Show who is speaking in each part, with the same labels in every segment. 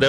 Speaker 1: det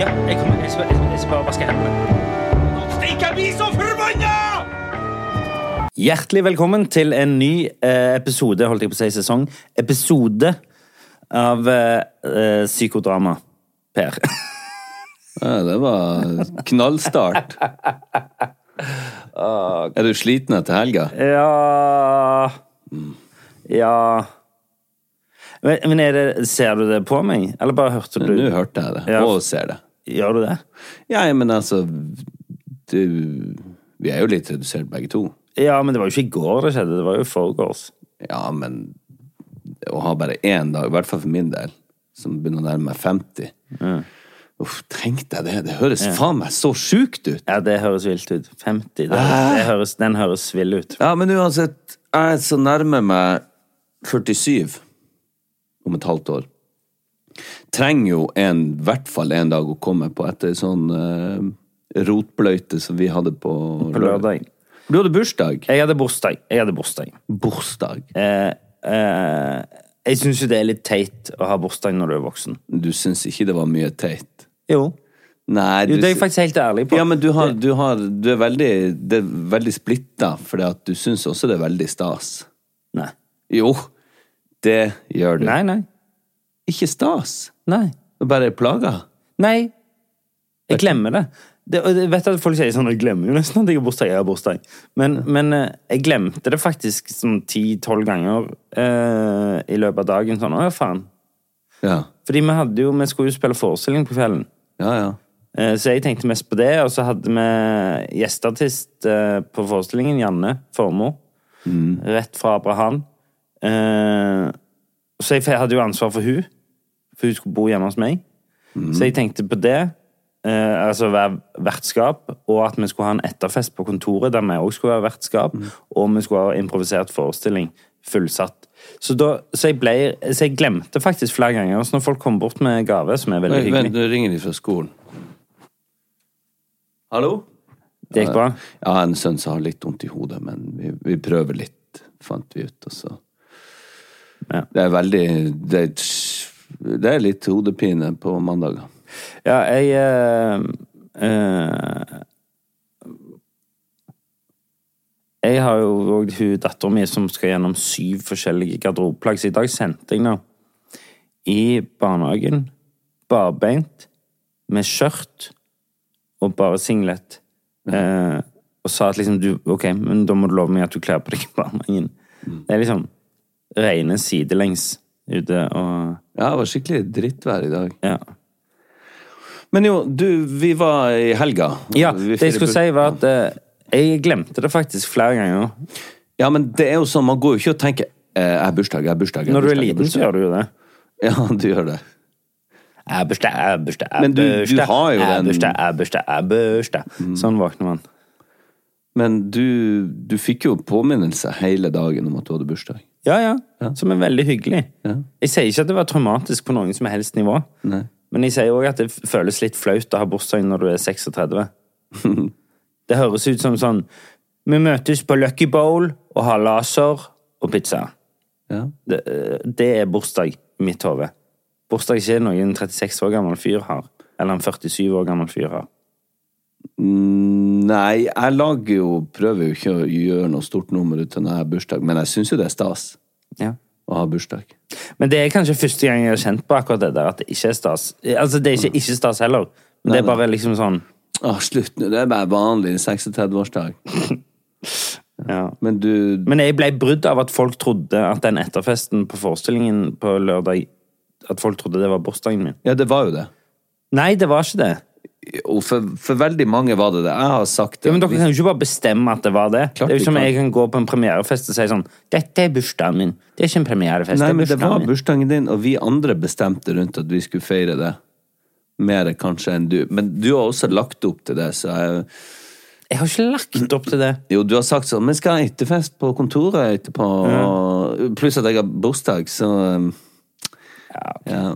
Speaker 2: Ja, jeg kommer, jeg skal, jeg skal- jeg skal bare vaske hendene.
Speaker 1: Stikk, jeg blir så forbanna!
Speaker 2: Hjertelig velkommen til en ny eh, episode, holdt jeg på å si sesong, episode av eh, eh, Psykodrama, Per.
Speaker 3: Ja, det var knallstart. Er du sliten etter helga?
Speaker 2: Ja Ja Men, men er det, ser du det på meg? Eller bare hørte du?
Speaker 3: Nå hørte jeg det,
Speaker 2: Ja.
Speaker 3: og ser det.
Speaker 2: Gjør du det?
Speaker 3: Ja, men altså du, Vi er jo litt redusert begge to.
Speaker 2: Ja, men det var jo ikke i går det skjedde, det var jo i forgårs.
Speaker 3: Ja, men å ha bare én dag, i hvert fall for min del, som begynner å nærme meg 50 Uff, tenk deg det! Det høres faen meg så sjukt ut!
Speaker 2: Ja, det høres vilt ut. 50. Det,
Speaker 3: Ah.
Speaker 2: det høres, den høres vill ut.
Speaker 3: Ja, men uansett, jeg er så nærme meg 47 om et halvt år. Trenger jo en, i hvert fall en dag å komme på etter sånn eh, rotbløyte som vi hadde på,
Speaker 2: På lørdag.
Speaker 3: Du hadde bursdag.
Speaker 2: Jeg hadde bursdag. Jeg hadde bursdag.
Speaker 3: Bursdag.
Speaker 2: Eh, eh, jeg syns jo det er litt teit å ha bursdag når du er voksen.
Speaker 3: Du syns ikke det var mye teit?
Speaker 2: Jo.
Speaker 3: Nei,
Speaker 2: jo det er
Speaker 3: sy-
Speaker 2: jeg faktisk helt ærlig på.
Speaker 3: Ja, men du, har, du, har, du er veldig, det er veldig splitta, for du syns også det er veldig stas.
Speaker 2: Nei.
Speaker 3: Jo, det gjør du.
Speaker 2: Nei, nei.
Speaker 3: Ikke stas.
Speaker 2: Nei.
Speaker 3: Det er bare plager.
Speaker 2: Nei. Jeg glemmer det. det og jeg vet at Folk sier sånn Jeg glemmer jo nesten at jeg har bursdag. Jeg har bursdag. Men, men eh, jeg glemte det faktisk sånn ti-tolv ganger eh, i løpet av dagen. Sånn, å ja, faen.
Speaker 3: Ja,
Speaker 2: Fordi vi hadde jo, vi skulle jo spille forestilling på kvelden.
Speaker 3: ja. ja.
Speaker 2: Eh, Så jeg tenkte mest på det, og så hadde vi gjesteartist eh, på forestillingen, Janne Formoe,
Speaker 3: Mm.
Speaker 2: rett fra Abraham. Eh, Så jeg f- hadde jo ansvar for hun, for hun skulle bo hjemme hos meg.
Speaker 3: Mm.
Speaker 2: Så jeg tenkte på det, eh, altså være vertskap, og at vi skulle ha en etterfest på kontoret der vi òg skulle være vertskap,
Speaker 3: Mm.
Speaker 2: og vi skulle ha improvisert forestilling fullsatt. Så, da, så, jeg ble, så jeg glemte faktisk flere ganger. Så når folk kom bort med gave, som er veldig
Speaker 3: Oi,
Speaker 2: hyggelig
Speaker 3: vent, nå ringer de fra skolen. Hallo?
Speaker 2: Det gikk bra?
Speaker 3: Jeg har en sønn som har litt vondt i hodet, men vi, vi prøver litt, fant vi ut, og så
Speaker 2: Ja.
Speaker 3: Det er veldig det er, det er litt hodepine på mandager.
Speaker 2: Ja, jeg eh, eh, Jeg har jo òg hun dattera mi som skal gjennom syv forskjellige garderobeplagg, så i dag sendte jeg henne i barnehagen barbeint med skjørt og bare singlet. Eh, og sa at liksom du, Ok, men da må du love meg at du kler på deg i barnehagen. Det er liksom rene sidelengs ute og
Speaker 3: Ja, det var skikkelig drittvær i dag.
Speaker 2: Ja.
Speaker 3: Men jo, du, vi var i helga.
Speaker 2: Ja,
Speaker 3: Vi
Speaker 2: det jeg skulle
Speaker 3: feirer-
Speaker 2: si var at eh, jeg glemte det faktisk flere ganger.
Speaker 3: Ja, men det er jo sånn, man går jo ikke og tenker eh, Jeg har bursdag, jeg har bursdag. jeg har
Speaker 2: Når du
Speaker 3: bursdag, jeg
Speaker 2: er
Speaker 3: har
Speaker 2: liten, så gjør du jo det.
Speaker 3: bursdag. Ja, du gjør det.
Speaker 2: Jeg bursdag, jeg bursdag, jeg
Speaker 3: Men du- du
Speaker 2: bursdag,
Speaker 3: har jo
Speaker 2: jeg
Speaker 3: den- Mm.
Speaker 2: bursdag, jeg bursdag, jeg bursdag. Sånn våkner man.
Speaker 3: Men du, du fikk jo påminnelse hele dagen om at du hadde bursdag.
Speaker 2: Ja, ja. Som er veldig hyggelig. Jeg sier ikke at det var traumatisk på noen som helst nivå.
Speaker 3: Nei.
Speaker 2: Men jeg sier òg at det føles litt flaut å ha bursdag når du er 36. det høres ut som sånn Vi møtes på Lucky Bowl og har laser og pizza.
Speaker 3: Ja.
Speaker 2: Det, det er bursdag i mitt hode. Bursdag er ikke noe en 36 år gammel fyr har. Eller en 47 år gammel fyr har.
Speaker 3: Mm, Nei, jeg lager jo Prøver jo ikke å gjøre noe stort nummer ut av når jeg har bursdag, men jeg syns jo det er stas
Speaker 2: Ja.
Speaker 3: å ha bursdag.
Speaker 2: Men det er kanskje første gang jeg har kjent på akkurat det der, at det ikke er stas. Altså, det er ikke ikke stas heller, men det er bare liksom sånn
Speaker 3: Å, slutt nå, det er bare vanlig 36-årsdag.
Speaker 2: ja.
Speaker 3: Men du
Speaker 2: Men jeg ble brydd av at folk trodde at den etterfesten på forestillingen på lørdag At folk trodde det var bursdagen min.
Speaker 3: Ja, det var jo det.
Speaker 2: Nei, det var ikke det.
Speaker 3: Og for, for veldig mange var det det. Jeg har sagt det.
Speaker 2: Ja, men Dere kan jo ikke bare bestemme at det var det.
Speaker 3: Klart
Speaker 2: det er
Speaker 3: vi
Speaker 2: jo som
Speaker 3: kan.
Speaker 2: jeg kan gå på en premierefest og si sånn 'Dette er bursdagen min.' Det er ikke en premierefest.
Speaker 3: Nei,
Speaker 2: det er
Speaker 3: men det
Speaker 2: bursdagen
Speaker 3: var
Speaker 2: min.
Speaker 3: bursdagen din, og vi andre bestemte rundt at vi skulle feire det. Mer kanskje enn du. Men du har også lagt opp til det, så jeg
Speaker 2: Jeg har ikke lagt opp til det.
Speaker 3: Jo, du har sagt sånn Vi skal ha etterfest på kontoret etterpå. og- Pluss at jeg har bursdag, så um, Ja.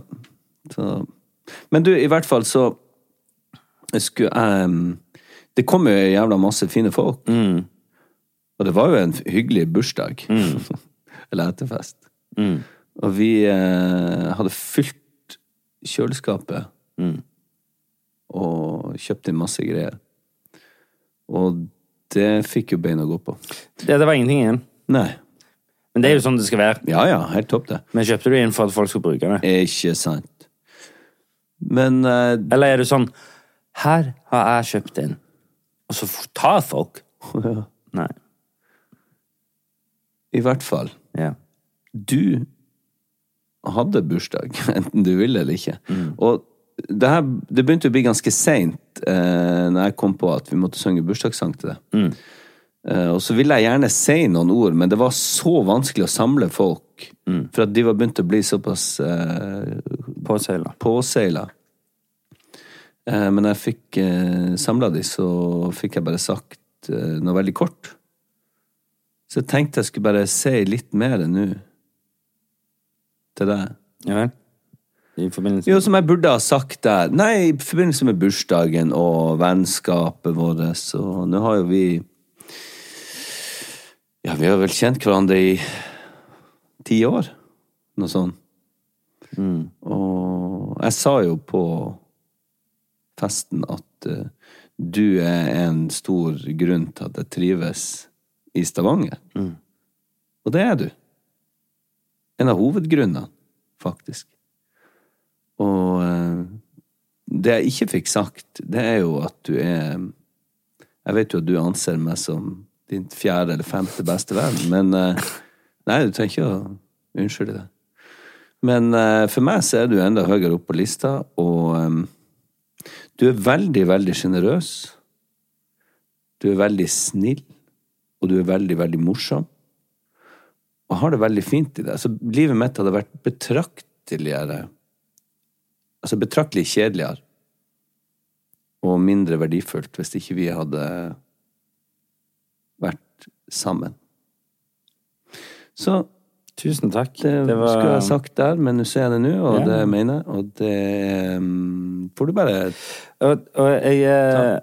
Speaker 3: Så Men du, i hvert fall så skulle jeg um, Det kom jo jævla masse fine folk. Og det var jo en hyggelig bursdag. Eller etterfest. Og vi eh, hadde fylt kjøleskapet. Og kjøpt inn masse greier. Og det fikk jo bein å gå på.
Speaker 2: det. Det var ingenting igjen.
Speaker 3: Nei.
Speaker 2: Men det er jo sånn det skal være.
Speaker 3: Ja ja, helt topp, det.
Speaker 2: Men kjøpte du inn for at folk skulle bruke det?
Speaker 3: Ikke sant. Men eh,
Speaker 2: Eller er du sånn Her har jeg kjøpt inn. Og så f- tar folk. Nei.
Speaker 3: i hvert fall,
Speaker 2: Ja.
Speaker 3: du hadde bursdag, enten du ville eller ikke. Og det her det begynte å bli ganske seint eh, når jeg kom på at vi måtte synge bursdagssang til deg. Eh, og så ville jeg gjerne si noen ord, men det var så vanskelig å samle folk. For at de var begynt å bli såpass eh,
Speaker 2: Påseila.
Speaker 3: påseila. Eh, men jeg fikk eh, samla de, så fikk jeg bare sagt eh, noe veldig kort. Så jeg tenkte jeg skulle bare si litt mer nå til deg.
Speaker 2: Ja vel? I forbindelse
Speaker 3: Jo, som jeg burde ha sagt der. Nei, i forbindelse med bursdagen og vennskapet vårt, så nå har jo vi Ja, vi har vel kjent hverandre i ti år, noe sånt. Og jeg sa jo på festen at eh, du er en stor grunn til at jeg trives i Stavanger. Og det er du. En av hovedgrunnene, faktisk. Og eh, det jeg ikke fikk sagt, det er jo at du er Jeg vet jo at du anser meg som din fjerde eller femte beste venn, men eh, Nei, du trenger ikke å unnskylde det. Men eh, for meg så er du enda høyere oppe på lista, og eh, du er veldig, veldig sjenerøs. Du er veldig snill, og du er veldig, veldig morsom. Og har det veldig fint i deg. Så livet mitt hadde vært betrakteligere altså betraktelig kjedeligere og mindre verdifullt hvis ikke vi hadde vært sammen. Så
Speaker 2: Tusen takk.
Speaker 3: det,
Speaker 2: Det var-
Speaker 3: skulle jeg ha sagt der, men nå ser jeg det nå, og
Speaker 2: Ja.
Speaker 3: det mener jeg, og det mm, får du bare
Speaker 2: Og, og jeg eh,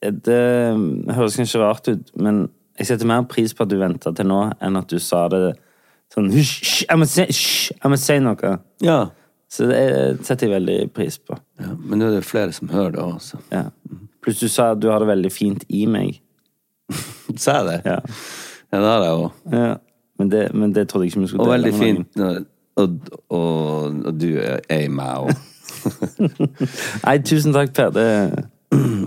Speaker 2: Det mm, høres kanskje rart ut, men jeg setter mer pris på at du venta til nå, enn at du sa det sånn hysj, hysj, jeg må si- hysj, jeg må si noe.
Speaker 3: Ja.
Speaker 2: Så det eh, setter jeg veldig pris på.
Speaker 3: ja. Men nå er det flere som hører det også.
Speaker 2: Ja. Pluss du sa at du har det veldig fint i meg.
Speaker 3: Sa jeg det?
Speaker 2: Ja.
Speaker 3: Ja, det har jeg òg.
Speaker 2: Ja. Men, det, men det trodde jeg ikke vi skulle
Speaker 3: Og veldig
Speaker 2: med noen.
Speaker 3: fint. når- Og, og, og du er i meg òg.
Speaker 2: Nei, tusen takk, Per. Det,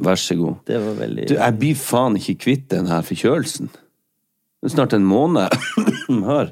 Speaker 3: Vær så god.
Speaker 2: det var veldig
Speaker 3: Du, jeg blir faen ikke kvitt den her forkjølelsen. Det er snart en måned. Hør.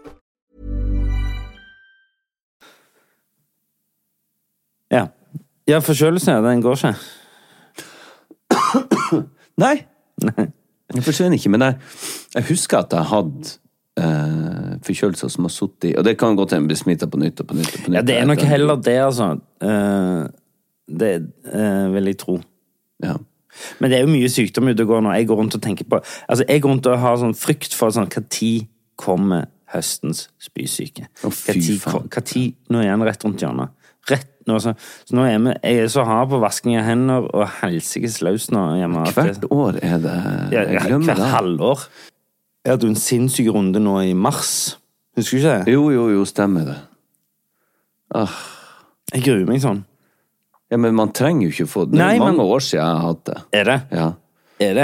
Speaker 2: Ja, ja forkjølelsen, ja, den går ikke.
Speaker 3: Nei. Den forsvinner ikke, men jeg, jeg husker at jeg hadde eh, forkjølelser som har sittet i Og det kan godt hende bli smitta på nytt og på nytt. og på nytt
Speaker 2: Ja, det er nok heller det, altså. Eh, Det eh, vil jeg tro.
Speaker 3: Ja.
Speaker 2: Men det er jo mye sykdom ute og går nå. Jeg går rundt og tenker på Altså, jeg går rundt og har sånn frykt for sånn Hva tid kommer høstens spysyke?
Speaker 3: Å, fy
Speaker 2: Hva tid
Speaker 3: faen.
Speaker 2: kom- hva tid Nå er den rett rundt hjørnet. Rett nå, så, så nå er vi Jeg er så hard på vasking av hender og helsikes løs nå hjemme. at
Speaker 3: Hvert
Speaker 2: det-
Speaker 3: år er det
Speaker 2: ja,
Speaker 3: Jeg glemmer
Speaker 2: hvert
Speaker 3: det.
Speaker 2: halvår. Jeg hadde jo en sinnssyk runde nå i mars. Husker du ikke det?
Speaker 3: Jo, jo, jo, stemmer det.
Speaker 2: Jeg gruer meg sånn.
Speaker 3: Ja, Men man trenger jo ikke å få det. Det
Speaker 2: Nei,
Speaker 3: er jo mange
Speaker 2: men-
Speaker 3: år siden jeg har hatt det.
Speaker 2: Er det?
Speaker 3: Ja. Mm.
Speaker 2: Er det?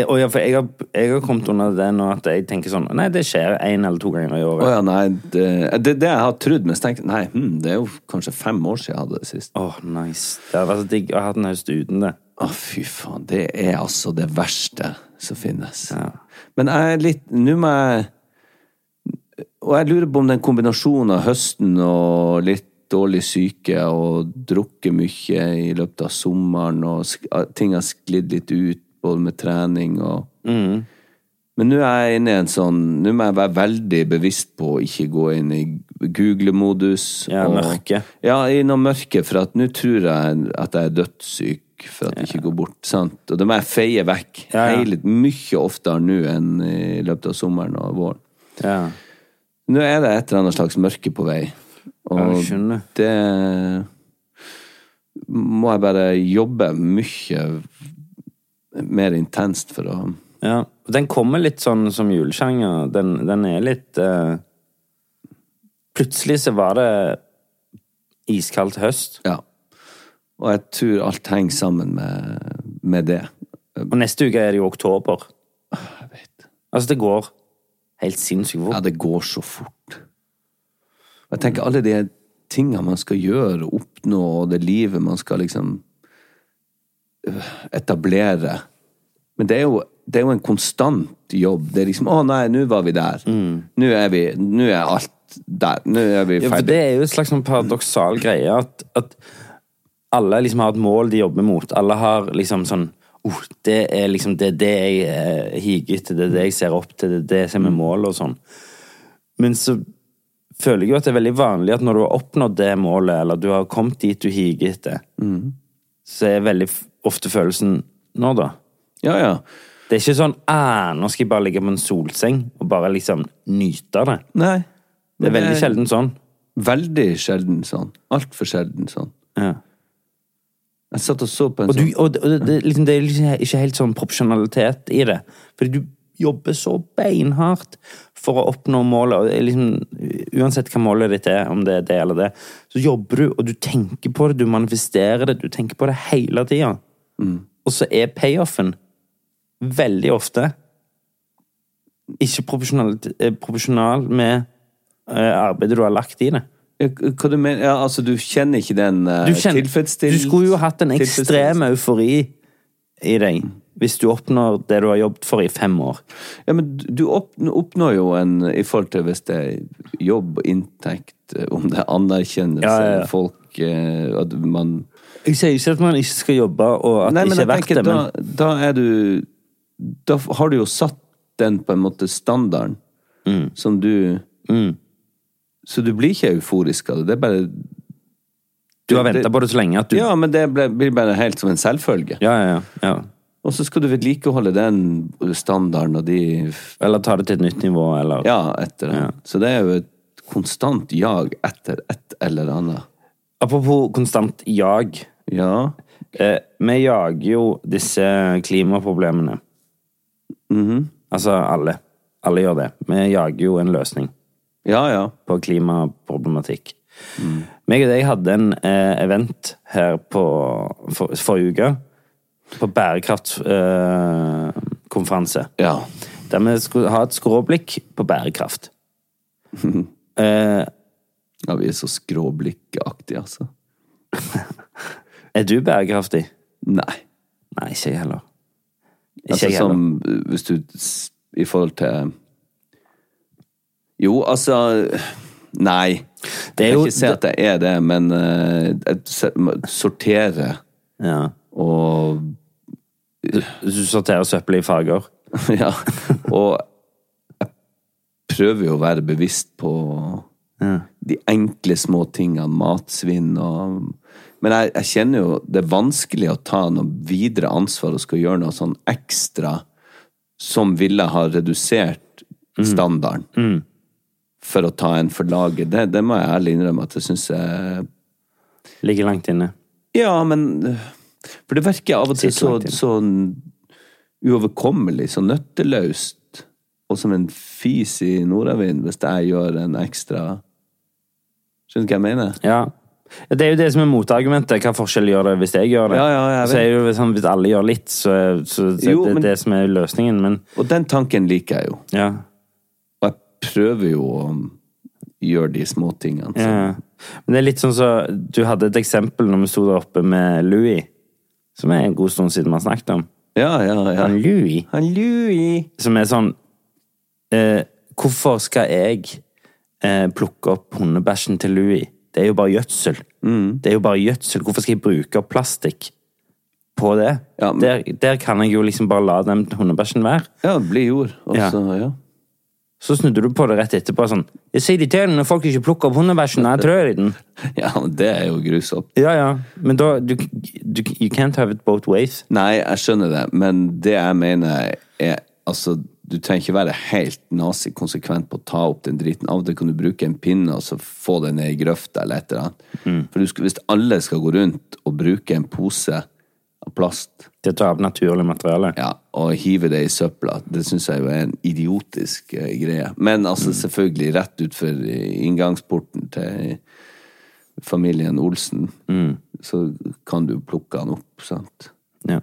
Speaker 2: Jeg, og ja, for jeg har, jeg har kommet under det nå at jeg tenker sånn Nei, det skjer én eller to ganger i
Speaker 3: Å
Speaker 2: året.
Speaker 3: ja, nei, det er det, det jeg har trodd, men så tenkte jeg nei, hm, det er jo kanskje fem år siden jeg hadde det sist.
Speaker 2: Åh, nice. Det hadde vært så digg å ha hatt en høst uten det.
Speaker 3: Å, fy faen. Det er altså det verste som finnes. Men jeg er litt Nå må jeg Og jeg lurer på om den kombinasjonen av høsten og litt dårlig syke og drukket mye i løpet av sommeren og sk- at ting har sklidd litt ut, både med trening og
Speaker 2: Mm.
Speaker 3: Men nå er jeg inne i en sånn Nå må jeg være veldig bevisst på å ikke gå inn i Google-modus.
Speaker 2: Ja,
Speaker 3: og-
Speaker 2: mørke.
Speaker 3: Ja, i noe mørke, for at nå tror jeg at jeg er dødssyk for at det ikke går bort. sant? Og det må jeg feie vekk
Speaker 2: Ja, ja.
Speaker 3: Hele, mye oftere nå enn i løpet av sommeren og våren.
Speaker 2: Ja.
Speaker 3: Nå er det et eller annet slags mørke på vei.
Speaker 2: Ja,
Speaker 3: Og
Speaker 2: jeg skjønner.
Speaker 3: det må jeg bare jobbe mye mer intenst for å
Speaker 2: ja. Og Den kommer litt sånn som julesjanger. Den, den er litt eh, Plutselig så var det iskaldt høst,
Speaker 3: Ja. Og jeg tror alt henger sammen med, med det.
Speaker 2: og neste uke er det jo oktober. Altså, det går helt sinnssykt
Speaker 3: Ja,
Speaker 2: fort.
Speaker 3: det går så fort. Og Jeg tenker alle de tingene man skal gjøre, og oppnå, og det livet man skal liksom øh, etablere. Men det er jo, det er jo en konstant jobb. Det er liksom 'Å nei, nå var vi der'. Nå, er vi, 'Nå er alt der'. Nå er vi
Speaker 2: Mm. Ja, for
Speaker 3: ferdig.
Speaker 2: det er jo et slags sånn paradoksal greie at, at alle liksom har et mål de jobber mot. Alle har liksom sånn oh, det er liksom det, er det jeg eh, higer etter, det er det jeg ser opp til, det er det som er målet og sånn. Men så føler jeg jo at det er veldig vanlig at når du har oppnådd det målet, eller du har kommet dit du higer etter, så er veldig f- ofte følelsen nå, da.
Speaker 3: Ja, ja.
Speaker 2: Det er ikke sånn ah, nå skal jeg bare ligge på en solseng og bare liksom nyte av det.
Speaker 3: Nei.
Speaker 2: Det er veldig sjelden sånn.
Speaker 3: Veldig sjelden sånn. Altfor sjelden sånn.
Speaker 2: Ja.
Speaker 3: Jeg satt og så på en
Speaker 2: Og, du,
Speaker 3: sånn
Speaker 2: og det, og det, det, er liksom, det er liksom ikke helt sånn proporsjonalitet i det. Fordi du jobber så beinhardt for å oppnå målet. Og det er liksom, uansett hva målet ditt er, om det er det eller det, så jobber du, og du tenker på det, du manifesterer det, du tenker på det hele tida.
Speaker 3: Mm.
Speaker 2: Og så er payoffen veldig ofte ikke proporsjonalit- eh, proporsjonal med eh, arbeidet du har lagt i det.
Speaker 3: Ja, Eh, Hva du mener Ja, altså, du kjenner ikke den uh,
Speaker 2: Du, kjenner, du skulle jo hatt en ekstrem eufori i deg hvis du oppnår det du har jobbet for i fem år.
Speaker 3: Ja, men du oppn- oppnår jo en I forhold til hvis det er jobb, inntekt, eh, om det er anerkjennelse,
Speaker 2: Ja, ja, ja.
Speaker 3: folk eh, At man
Speaker 2: Jeg sier ikke at man ikke skal jobbe, og at
Speaker 3: Nei,
Speaker 2: det
Speaker 3: men jeg
Speaker 2: ikke er verdt
Speaker 3: tenker,
Speaker 2: det, men
Speaker 3: da, da er du Da f- har du jo satt den på en måte standarden
Speaker 2: Mm.
Speaker 3: som du Så du blir ikke euforisk av det. Det er bare
Speaker 2: du har venta på det så lenge at du
Speaker 3: Ja, men det ble- blir bare helt som en selvfølge.
Speaker 2: ja, ja, ja.
Speaker 3: Og så skal du vedlikeholde den standarden og de
Speaker 2: Eller ta det til et nytt nivå, eller
Speaker 3: Ja, etter det. Så det er jo et konstant jag etter et eller annet.
Speaker 2: Apropos konstant jag.
Speaker 3: Ja.
Speaker 2: Eh, vi jager jo disse klimaproblemene.
Speaker 3: Mhm.
Speaker 2: Altså alle. Alle gjør det. Vi jager jo en løsning.
Speaker 3: Ja, ja.
Speaker 2: på klimaproblematikk.
Speaker 3: Mm.
Speaker 2: Meg og deg hadde en eh, event her på for, forrige uke, på bærekraftkonferanse, eh, konferanse,
Speaker 3: Ja.
Speaker 2: der vi skulle ha et skråblikk på bærekraft. eh,
Speaker 3: ja vi er så skråblikkaktige, altså.
Speaker 2: er du bærekraftig?
Speaker 3: Nei.
Speaker 2: Nei, ikke jeg heller. Ikke
Speaker 3: Altså
Speaker 2: jeg heller.
Speaker 3: som eh, hvis du s- I forhold til Jo, altså Nei.
Speaker 2: Det er
Speaker 3: jeg
Speaker 2: jo-
Speaker 3: kan ikke si at jeg er det, men eh, jeg se- må sortere
Speaker 2: Ja.
Speaker 3: og
Speaker 2: Du sorterer søppel i farger.
Speaker 3: Ja. Og jeg prøver jo å være bevisst på de enkle små tingene, matsvinn og Men jeg, jeg kjenner jo det er vanskelig å ta noe videre ansvar og skal gjøre noe sånn ekstra som ville ha redusert standarden. For å ta en for laget. Det, det må jeg ærlig innrømme at jeg syns jeg
Speaker 2: Ligger langt inne.
Speaker 3: Ja, men øh, For det virker av og til
Speaker 2: Sitter
Speaker 3: så,
Speaker 2: langt inne.
Speaker 3: så uoverkommelig, så nøtteløst, og som en fis i nordavind hvis jeg gjør en ekstra Skjønner du hva jeg mener?
Speaker 2: Ja. Det er jo det som er motargumentet. Hva forskjell gjør det hvis jeg gjør det?
Speaker 3: Ja, ja, jeg vet.
Speaker 2: så er det jo sånn, Hvis alle gjør litt, så, så, så
Speaker 3: Jo,
Speaker 2: det er
Speaker 3: men-
Speaker 2: det som er løsningen. Men
Speaker 3: Og den tanken liker jeg jo.
Speaker 2: ja.
Speaker 3: Og jeg prøver jo å gjøre de små tingene.
Speaker 2: ja. Men det er litt sånn så Du hadde et eksempel når vi sto der oppe med Louis, som er en god stund siden vi har snakket om.
Speaker 3: Ja, ja, ja.
Speaker 2: Han Louis,
Speaker 3: Han Louis.
Speaker 2: som er sånn eh, Hvorfor skal jeg eh, plukke opp hundebæsjen til Louis? Det er jo bare gjødsel.
Speaker 3: Mm.
Speaker 2: Det er jo bare gjødsel. Hvorfor skal jeg bruke opp plastikk på det?
Speaker 3: Ja, men-
Speaker 2: der, der kan jeg jo liksom bare la den hundebæsjen være.
Speaker 3: Ja, det blir jord. Og
Speaker 2: Ja.
Speaker 3: så, ja.
Speaker 2: Så snudde du på det rett etterpå sånn Jeg sier det til dem når folk ikke plukker opp hundebæsjen, jeg trør i den.
Speaker 3: ja, men det er jo grusomt.
Speaker 2: Ja, ja. Men da du, du, You can't have it both ways.
Speaker 3: Nei, jeg skjønner det, men det jeg mener er Altså, du trenger ikke være helt nazikonsekvent på å ta opp den driten. Av og til kan du bruke en pinne og så få den ned i grøfta eller et eller annet. For du skal, hvis alle skal gå rundt og bruke en pose av plast
Speaker 2: Det tar av naturlig materiale.
Speaker 3: ja, og hive det i søpla, det syns jeg jo er en idiotisk eh, greie. Men altså, selvfølgelig rett utfor inngangsporten til familien Olsen, så kan du plukke han opp, sant.
Speaker 2: Ja.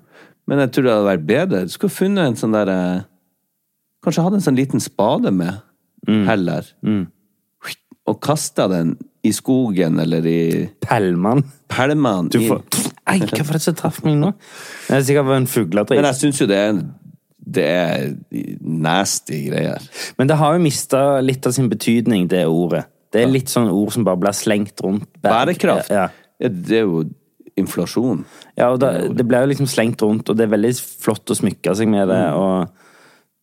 Speaker 3: Men jeg tror det hadde vært bedre. Du skulle funnet en sånn der eh, Kanskje hatt en sånn liten spade med,
Speaker 2: Mm.
Speaker 3: heller. Og kasta den i skogen eller i
Speaker 2: Pellmann.
Speaker 3: pælmene
Speaker 2: Du
Speaker 3: inn.
Speaker 2: får Ei, hva var det som traff meg nå? Det er sikkert en fugledrit.
Speaker 3: Men
Speaker 2: Men,
Speaker 3: jeg syns jo det er, det er nasty greier.
Speaker 2: Men det har jo mista litt av sin betydning, det ordet. Det er litt sånn ord som bare blir slengt rundt.
Speaker 3: Bærekraft.
Speaker 2: Ja,
Speaker 3: Ja, Det er jo inflasjon.
Speaker 2: ja og da, det blir jo liksom slengt rundt, og det er veldig flott å smykke seg med det. og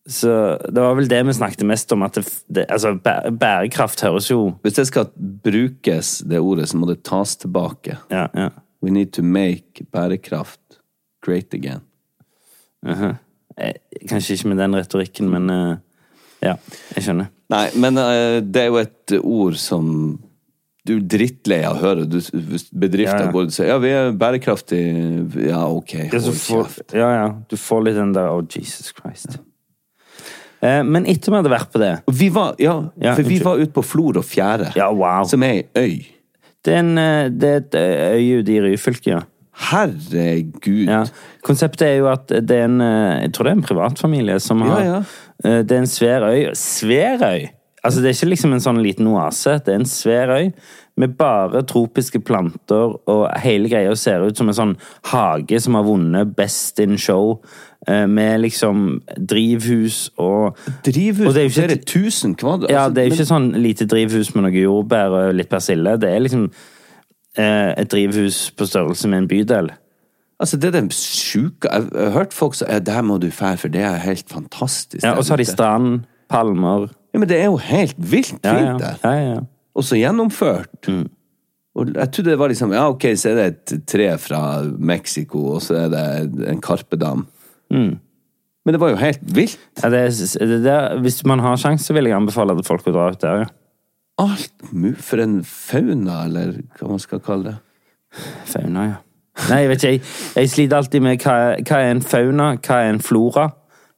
Speaker 2: så Det var vel det vi snakket mest om. at det, det, altså, bæ- Bærekraft høres jo
Speaker 3: Hvis det skal brukes, det ordet, så må det tas tilbake.
Speaker 2: Ja, ja.
Speaker 3: We need to make bærekraft great again.
Speaker 2: Eh, Kanskje ikke med den retorikken, men eh, ja, jeg skjønner.
Speaker 3: Nei, men eh, det er jo et ord som du er drittlei av å høre. Du, hvis bedrifter
Speaker 2: Ja, ja.
Speaker 3: går ut og sier ja, vi er bærekraftige. Ja, ok,
Speaker 2: Ja, så
Speaker 3: hold
Speaker 2: får,
Speaker 3: kjeft.
Speaker 2: ja, ja. Du får litt den der Oh, Jesus Christ. Eh, men etter vi hadde vært på det
Speaker 3: Vi var, ja,
Speaker 2: Ja,
Speaker 3: for vi
Speaker 2: unnskyld.
Speaker 3: var ute på Flor og Fjære,
Speaker 2: Ja, wow.
Speaker 3: som er ei øy.
Speaker 2: Det er, en, eh, det er et eh, øye ute i Ryfylke, ja.
Speaker 3: Herregud.
Speaker 2: ja. Konseptet er jo at det er en eh, Jeg tror det er en privatfamilie som har
Speaker 3: Ja,
Speaker 2: eh, Det er en svær øy. Svær øy! Altså, det er ikke liksom en sånn liten oase. Det er en svær øy med bare tropiske planter, og hele greia ser ut som en sånn hage som har vunnet Best in Show, eh, med liksom drivhus og
Speaker 3: Drivhus
Speaker 2: Og det
Speaker 3: på
Speaker 2: er jo ikke-
Speaker 3: flere tusen kvadrat.
Speaker 2: Ja,
Speaker 3: altså,
Speaker 2: det er jo
Speaker 3: men-
Speaker 2: ikke sånn lite drivhus med noe jordbær og litt persille. Det er liksom eh, et drivhus på størrelse med en bydel.
Speaker 3: Altså, det er den sjuke Jeg jeg har hørt folk si ja, der må du fære, for det er helt fantastisk.
Speaker 2: Ja,
Speaker 3: der
Speaker 2: og så har de
Speaker 3: ute."
Speaker 2: strand, palmer
Speaker 3: Ja, Men det er jo helt vilt fint
Speaker 2: Ja, ja.
Speaker 3: der.
Speaker 2: ja, ja.
Speaker 3: Og så gjennomført. Og jeg trodde det var liksom Ja, ok, så er det et tre fra Mexico, og så er det en karpedam. Mm. Men det var jo helt vilt.
Speaker 2: ja det er, det der, hvis man har sjanse, så vil jeg anbefale at folk å dra ut der. ja.
Speaker 3: Alt mu- for en fauna, eller hva man skal kalle det.
Speaker 2: Fauna, ja. Nei, jeg vet ikke. Jeg, jeg sliter alltid med hva, er- hva er en fauna, hva er en flora?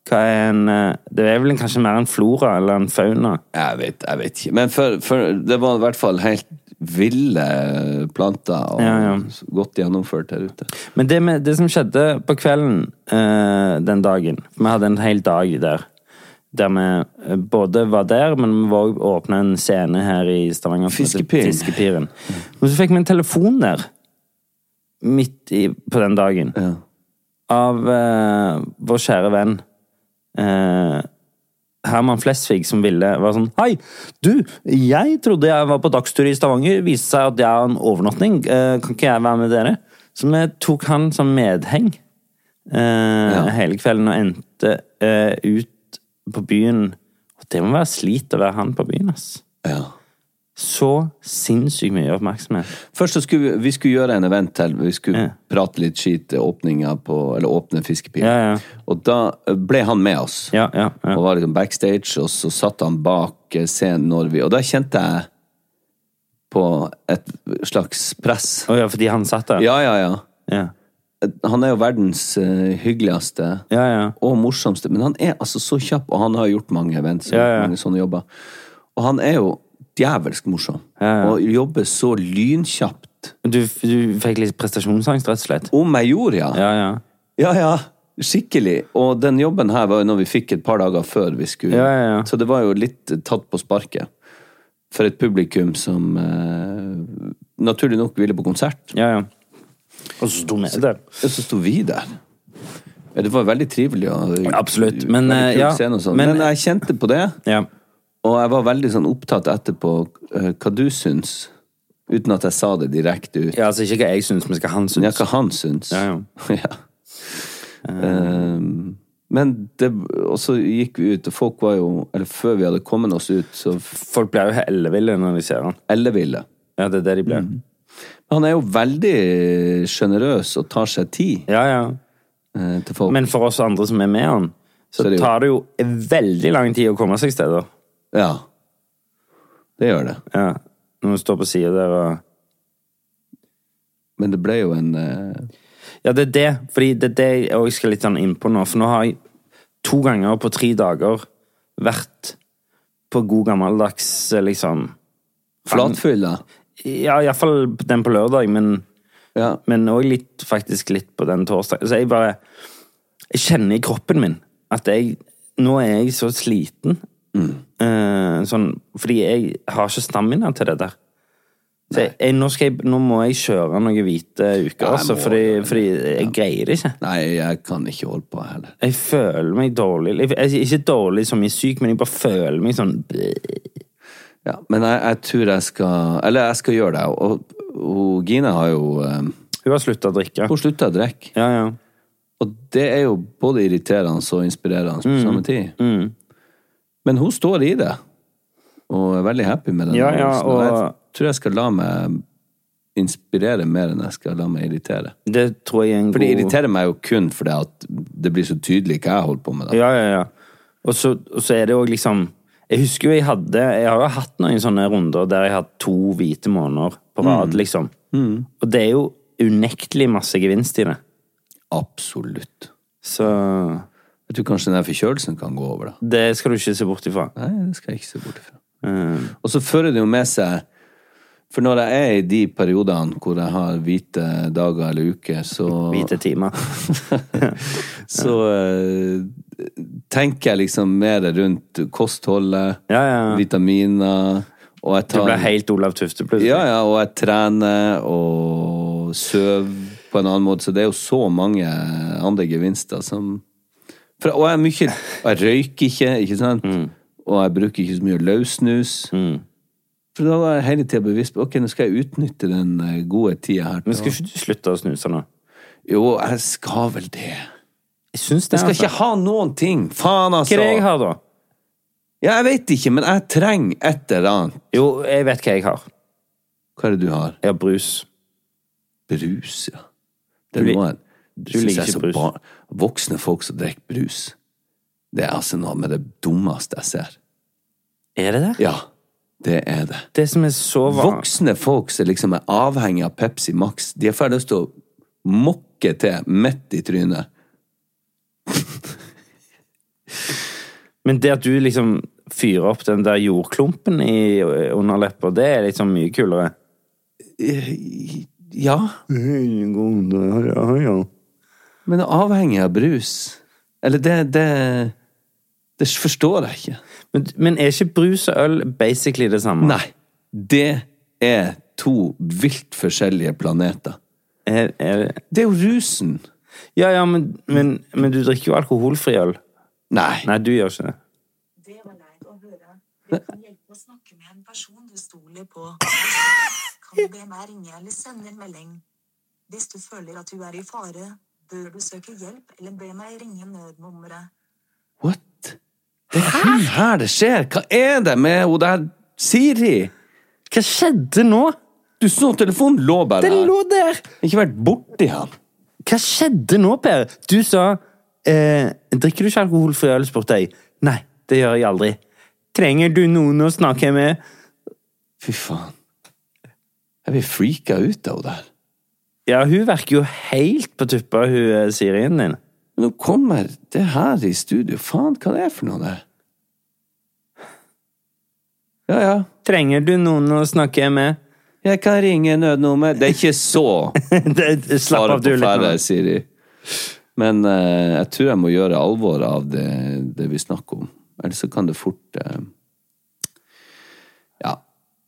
Speaker 2: Hva er en eh, Det er vel kanskje mer en flora eller en fauna.
Speaker 3: Jeg vet, jeg vet ikke. Men for, for, det var i hvert fall helt ville planter, og
Speaker 2: Ja, ja.
Speaker 3: godt gjennomført her ute.
Speaker 2: Men det, med, det som skjedde på kvelden eh, den dagen Vi hadde en hel dag der. Der vi eh, både var der, men vi var også åpna en scene her i Stavanger. som heter
Speaker 3: Fiskepiren.
Speaker 2: Fiskepiren. Men så fikk vi en telefon der midt i, på den dagen av eh, vår kjære venn eh, Herman Flesvig som ville var sånn Hei, du, jeg trodde jeg var på dagstur i Stavanger. Viste seg at jeg har en overnatting. Eh, kan ikke jeg være med dere? Så vi tok han som medheng eh, hele kvelden og endte eh, ut på byen. Og det må være slit å være han på byen, ass.
Speaker 3: Ja.
Speaker 2: Så sinnssykt mye oppmerksomhet.
Speaker 3: Først så skulle vi, vi skulle gjøre en event til. Vi skulle
Speaker 2: Ja.
Speaker 3: prate litt skit åpninga på Eller åpne fiskepilen.
Speaker 2: Ja, ja.
Speaker 3: Og da ble han med oss.
Speaker 2: Ja, ja, ja.
Speaker 3: Og var liksom backstage, og så satt han bak eh, scenen når vi Og da kjente jeg på et slags press.
Speaker 2: Å ja, fordi han satt der?
Speaker 3: Ja, ja, ja.
Speaker 2: Ja,
Speaker 3: Han er jo verdens eh, hyggeligste
Speaker 2: ja. ja.
Speaker 3: og morsomste, men han er altså så kjapp, og han har gjort mange events og
Speaker 2: Ja, ja.
Speaker 3: mange sånne jobber. Og han er jo djevelsk morsom, og jobber så lynkjapt lett.
Speaker 2: Du, du fikk litt prestasjonsangst, rett og slett?
Speaker 3: Om jeg gjorde, ja.
Speaker 2: Ja, ja.
Speaker 3: Ja, ja. Skikkelig. Og den jobben her var jo noe vi fikk et par dager før vi skulle.
Speaker 2: Ja, ja, ja.
Speaker 3: Så det var jo litt eh, tatt på sparket. For et publikum som eh, naturlig nok ville på konsert.
Speaker 2: ja, ja. Og så sto vi der.
Speaker 3: Og så sto vi der. Ja, det var veldig trivelig. Og,
Speaker 2: Absolutt, men,
Speaker 3: veldig
Speaker 2: eh,
Speaker 3: kul
Speaker 2: ja,
Speaker 3: scene og sånn.
Speaker 2: men-
Speaker 3: men jeg kjente på det.
Speaker 2: Ja.
Speaker 3: Og jeg var veldig sånn opptatt etterpå eh, hva du syns, uten at jeg sa det direkte ut.
Speaker 2: ja, altså ikke hva jeg syns, men hva han
Speaker 3: Ja,
Speaker 2: syns.
Speaker 3: hva han syns.
Speaker 2: Ja,
Speaker 3: Ja. Ehm, men det Og så gikk vi ut, og folk var jo Eller før vi hadde kommet oss ut, så
Speaker 2: Folk blir jo helt elleville når de ser han.
Speaker 3: elleville.
Speaker 2: Ja, det er det de blir.
Speaker 3: Mm. Han er jo veldig sjenerøs og tar seg tid
Speaker 2: Ja, ja.
Speaker 3: eh, til folk.
Speaker 2: Men for oss andre som er med han,
Speaker 3: Så
Speaker 2: så,
Speaker 3: er det jo-
Speaker 2: tar det jo veldig lang tid å komme seg steder.
Speaker 3: ja. Det gjør det.
Speaker 2: Ja. Når vi står på sida der og
Speaker 3: Men det ble jo en eh,
Speaker 2: Ja, det er det. Fordi det er det jeg også skal litt sånn inn på nå. For nå har jeg to ganger på tre dager vært på god gammeldags eh, liksom
Speaker 3: flatfylla.
Speaker 2: Ja, iallfall den på lørdag, men
Speaker 3: Ja.
Speaker 2: men òg litt, faktisk litt på den torsdagen. Så jeg bare Jeg kjenner i kroppen min at jeg Nå er jeg så sliten.
Speaker 3: Mm.
Speaker 2: Eh, sånn, fordi jeg har ikke stamina til det der. Så jeg, jeg, nå, skal jeg, nå må jeg kjøre noen hvite uker,
Speaker 3: Nei,
Speaker 2: altså,
Speaker 3: må-
Speaker 2: fordi, fordi jeg greier det ikke.
Speaker 3: Nei, jeg kan ikke holde på heller.
Speaker 2: Jeg føler meg dårlig. Jeg, jeg, ikke dårlig som i syk, men jeg bare føler meg sånn
Speaker 3: Ja, men jeg, jeg tror jeg skal Eller jeg skal gjøre det. Og, og Gine har jo eh,
Speaker 2: Hun har slutta å drikke.
Speaker 3: Hun slutta å drikke.
Speaker 2: Ja, ja.
Speaker 3: Og det er jo både irriterende og inspirerende
Speaker 2: Mm.
Speaker 3: på samme tid. Men hun står i det, og er veldig happy med den.
Speaker 2: Ja, ja,
Speaker 3: øvelsen. og...
Speaker 2: og-
Speaker 3: Jeg tror jeg skal la meg inspirere mer enn jeg skal la meg irritere.
Speaker 2: Det tror jeg er en
Speaker 3: For det
Speaker 2: god
Speaker 3: irriterer meg jo kun fordi at det blir så tydelig hva jeg holder på med. Da.
Speaker 2: Ja, ja, ja. Og så, og så er det jo liksom Jeg husker jo jeg hadde Jeg har jo hatt noen sånne runder der jeg har hatt to hvite måneder på rad, liksom. Og det er jo unektelig masse gevinst i det.
Speaker 3: Absolutt.
Speaker 2: Så
Speaker 3: Jeg tror kanskje den her forkjølelsen kan gå over, da.
Speaker 2: det skal du ikke se bort ifra.
Speaker 3: Nei, det skal jeg ikke se bort ifra.
Speaker 2: Eh.
Speaker 3: Og så fører det jo med seg For når jeg er i de periodene hvor jeg har hvite dager eller uker, så
Speaker 2: Hvite timer.
Speaker 3: så eh, tenker jeg liksom mer rundt kostholdet,
Speaker 2: Ja, ja.
Speaker 3: vitaminer og jeg
Speaker 2: Du
Speaker 3: tar,
Speaker 2: ble helt Olav Tufte plutselig.
Speaker 3: ja, ja, og jeg trener og sover på en annen måte, så det er jo så mange andre gevinster som for, Og jeg er mye og Jeg røyker ikke, ikke sant?
Speaker 2: Mm.
Speaker 3: Og jeg bruker ikke så mye løssnus. For da var jeg hele tida bevisst på ok, nå skal jeg utnytte den eh, gode tida her. til
Speaker 2: Men
Speaker 3: å-
Speaker 2: skal ikke du slutte å snuse nå?
Speaker 3: Jo, jeg skal vel det.
Speaker 2: Jeg syns det.
Speaker 3: Jeg skal ikke ha noen ting! Faen,
Speaker 2: Hva
Speaker 3: altså!
Speaker 2: er det jeg har, da?
Speaker 3: Ja, jeg vet ikke, men jeg trenger et eller annet.
Speaker 2: Jo, jeg vet hva jeg har.
Speaker 3: Hva er det du har?
Speaker 2: Jeg har brus.
Speaker 3: Brus, ja.
Speaker 2: Du
Speaker 3: Det
Speaker 2: lik-
Speaker 3: må jeg
Speaker 2: du
Speaker 3: synes
Speaker 2: liker
Speaker 3: jeg er
Speaker 2: ikke
Speaker 3: så
Speaker 2: brus.
Speaker 3: bar- Voksne folk som drikker brus. Det er altså noe med det dummeste jeg ser.
Speaker 2: Er det det?
Speaker 3: Ja, det er det.
Speaker 2: Det som er så van...
Speaker 3: Voksne folk som liksom er avhengig av Pepsi Max, de har ferdig lyst til å mokke til midt i trynet.
Speaker 2: Men det at du liksom fyrer opp den der jordklumpen i underleppa, det er liksom mye kulere.
Speaker 3: Ja, men avhengig av brus Eller det Det, det forstår jeg ikke.
Speaker 2: Men, men er ikke brus og øl basically det samme?
Speaker 3: Nei. Det er to vilt forskjellige planeter.
Speaker 2: Er, er,
Speaker 3: Det er jo rusen.
Speaker 2: ja, ja, men, men, men du drikker jo alkoholfri øl.
Speaker 3: Nei.
Speaker 2: Nei, du gjør ikke det.
Speaker 4: Det var leit å høre. Du kan hjelpe å snakke med en person du stoler på. Kan du be meg ringe eller sende en melding? Hvis du føler at du er i fare, bør du søke hjelp eller be meg ringe nødnummeret.
Speaker 3: What? Det er kun her det skjer. Hva er det med hun der Siri?
Speaker 2: Hva skjedde nå?
Speaker 3: Du så telefonen lå bare
Speaker 2: Den
Speaker 3: her.
Speaker 2: lå der!
Speaker 3: Ikke vært borti han.
Speaker 2: Hva skjedde nå, Per? Du sa eh, Drikker du ikke alkoholfri øl? spurte jeg. Nei, det gjør jeg aldri. Trenger du noen å snakke med?
Speaker 3: Fy faen. Jeg blir freaka ut av hun der.
Speaker 2: Ja, hun virker jo helt på tuppa, hun eh, Sirien din.
Speaker 3: Men nå kommer det her i studio. Faen, hva det er for noe der? Ja, ja.
Speaker 2: Trenger du noen å snakke med?
Speaker 3: Jeg kan ringe nødnummer. Det er ikke så
Speaker 2: Det- det- Slapp
Speaker 3: fare
Speaker 2: av,
Speaker 3: på
Speaker 2: du. litt nå.
Speaker 3: ferde, Siri. Men eh, jeg tror jeg må gjøre alvor av det, det vi snakker om. Ellers så kan det fort eh, Ja.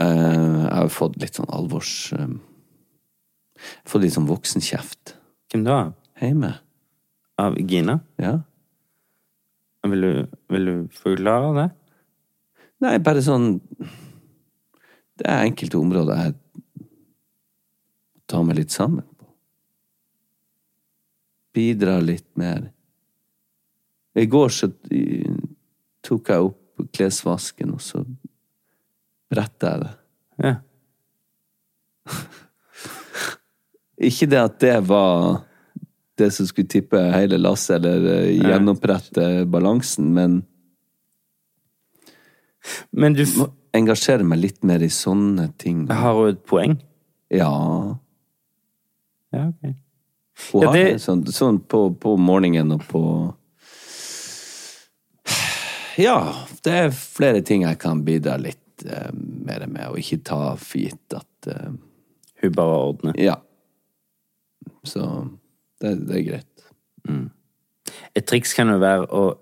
Speaker 3: eh, jeg har fått litt sånn alvors... eh, fått litt sånn voksenkjeft
Speaker 2: Hvem da?
Speaker 3: hjemme.
Speaker 2: Av Gina?
Speaker 3: Ja.
Speaker 2: Vil du, vil du forklare det?
Speaker 3: Nei, bare sånn Det er enkelte områder jeg tar meg litt sammen på. Bidrar litt mer. I går så eh, tok jeg opp klesvasken, og så bretta jeg det.
Speaker 2: Ja.
Speaker 3: Ikke det at det var det som skulle tippe hele lasset, eller eh, gjenopprette balansen, men
Speaker 2: Men du f-
Speaker 3: engasjere meg litt mer i sånne ting.
Speaker 2: har jo et poeng.
Speaker 3: Ja.
Speaker 2: Ja, ok.
Speaker 3: Hun
Speaker 2: Ja,
Speaker 3: har
Speaker 2: det-
Speaker 3: det sånn, sånn på, på morgenen og på Ja, det er flere ting jeg kan bidra litt eh, mer med, og ikke ta for gitt at eh,
Speaker 2: Hun bare ordner.
Speaker 3: Ja. Så det, det er greit.
Speaker 2: Et triks kan jo være å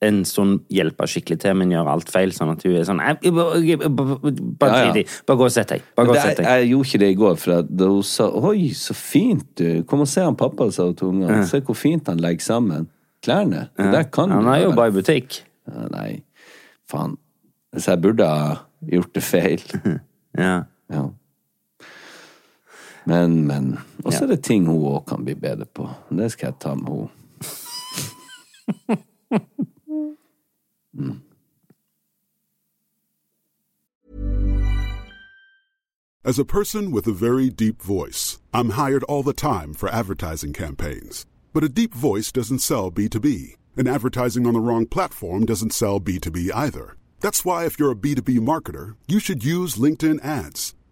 Speaker 2: en stund hjelpe skikkelig til, men gjøre alt feil, sånn at hun er sånn «Nei, Bare
Speaker 3: Ja, ja.
Speaker 2: drit i. Bare gå og sett deg. Bare gå og
Speaker 3: Det,
Speaker 2: sett
Speaker 3: jeg,
Speaker 2: deg.
Speaker 3: jeg gjorde ikke det i går, for at da hun sa 'oi, så fint du', kom og se han pappa, sa hun til ungene. Se hvor fint han legger sammen klærne. Det der kan
Speaker 2: Han
Speaker 3: du
Speaker 2: har
Speaker 3: jo
Speaker 2: jobba i butikk.
Speaker 3: Ja, Nei, faen. Så jeg burde ha gjort det feil.
Speaker 2: Ja.
Speaker 3: Ja. Men, men. Og så er det ting hun òg kan bli bedre på. Det skal jeg ta med henne.
Speaker 5: As a person with a very deep voice, I'm hired all the time for advertising campaigns. But a deep voice doesn't sell B2B, and advertising on the wrong platform doesn't sell B2B either. That's why, if you're a B2B marketer, you should use LinkedIn ads.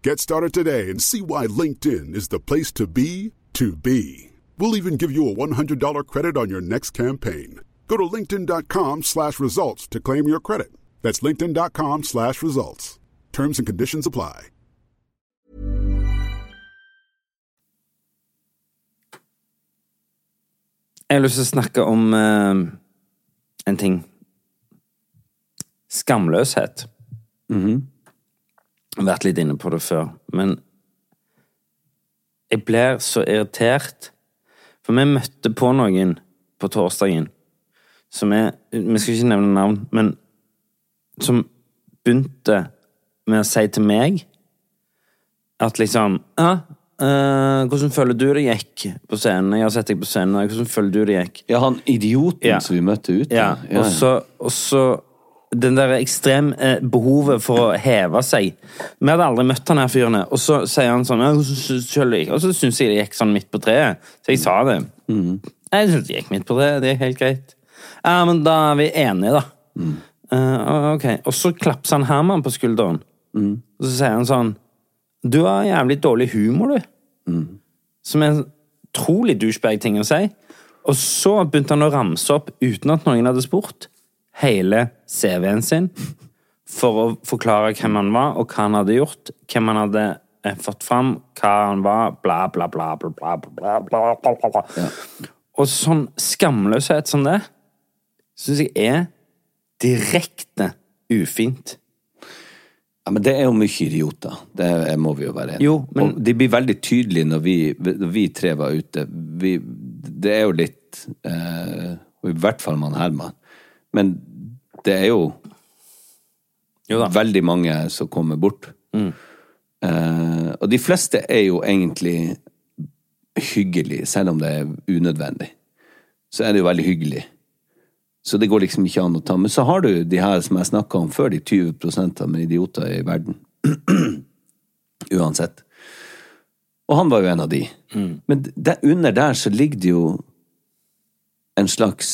Speaker 5: Get started today and see why LinkedIn is the place to be to be. We'll even give you a $100 credit on your next campaign. Go to linkedin.com slash results to claim your credit. That's linkedin.com slash results. Terms and conditions apply.
Speaker 2: Jeg har lyst til å snakke om eh, en ting. Skamløshet. Jeg har vært litt inne på det før, men jeg blir så irritert. For vi møtte på noen på torsdagen som er Vi skal ikke nevne navn, men som begynte med å si til meg at liksom ja, eh, Hvordan føler du det gikk på scenen? Jeg har sett deg på scenen. Hvordan føler du det gikk?
Speaker 3: Ja, han idioten
Speaker 2: Ja.
Speaker 3: som vi møtte ute.
Speaker 2: Ja, og så, og så den der ekstrem eh, behovet for å heve seg. Vi hadde aldri møtt han her fyren, og så sier han sånn «Ja, hvordan synes du selv det gikk?» Og så syns jeg det gikk sånn midt på treet, så jeg sa det. Mm. Jeg syns det gikk midt på treet, det er helt greit. Ja, men da er vi enige, da. Eh, ok, Og så klapser han Herman på skulderen, og så sier han sånn Du har jævlig dårlig humor, du som er en utrolig douchebag-ting å si. Og så begynte han å ramse opp, uten at noen hadde spurt, hele CV-en sin for å forklare hvem han var, og hva han hadde gjort, hvem han hadde eh, fått fram, hva han var, bla, bla, bla, bla, bla, bla, bla, bla, bla, bla. Og sånn skamløshet som det, syns jeg er direkte ufint.
Speaker 3: Ja, men det er jo mye idioter. Det er- må vi jo være enige om.
Speaker 2: Jo, men-
Speaker 3: Og de blir veldig tydelige når vi, når vi tre var ute. Vi, det er jo litt eh, og I hvert fall man Herman. Men det er jo
Speaker 2: Jo da. Mm.
Speaker 3: veldig mange som kommer bort. Eh, og de fleste er jo egentlig hyggelige, selv om det er unødvendig. Så er det jo veldig hyggelig. Så det går liksom ikke an å ta. Men så har du de her som jeg snakka om før, de 20 av idioter i verden uansett. Og han var jo en av de. Men der, under der så ligger det jo en slags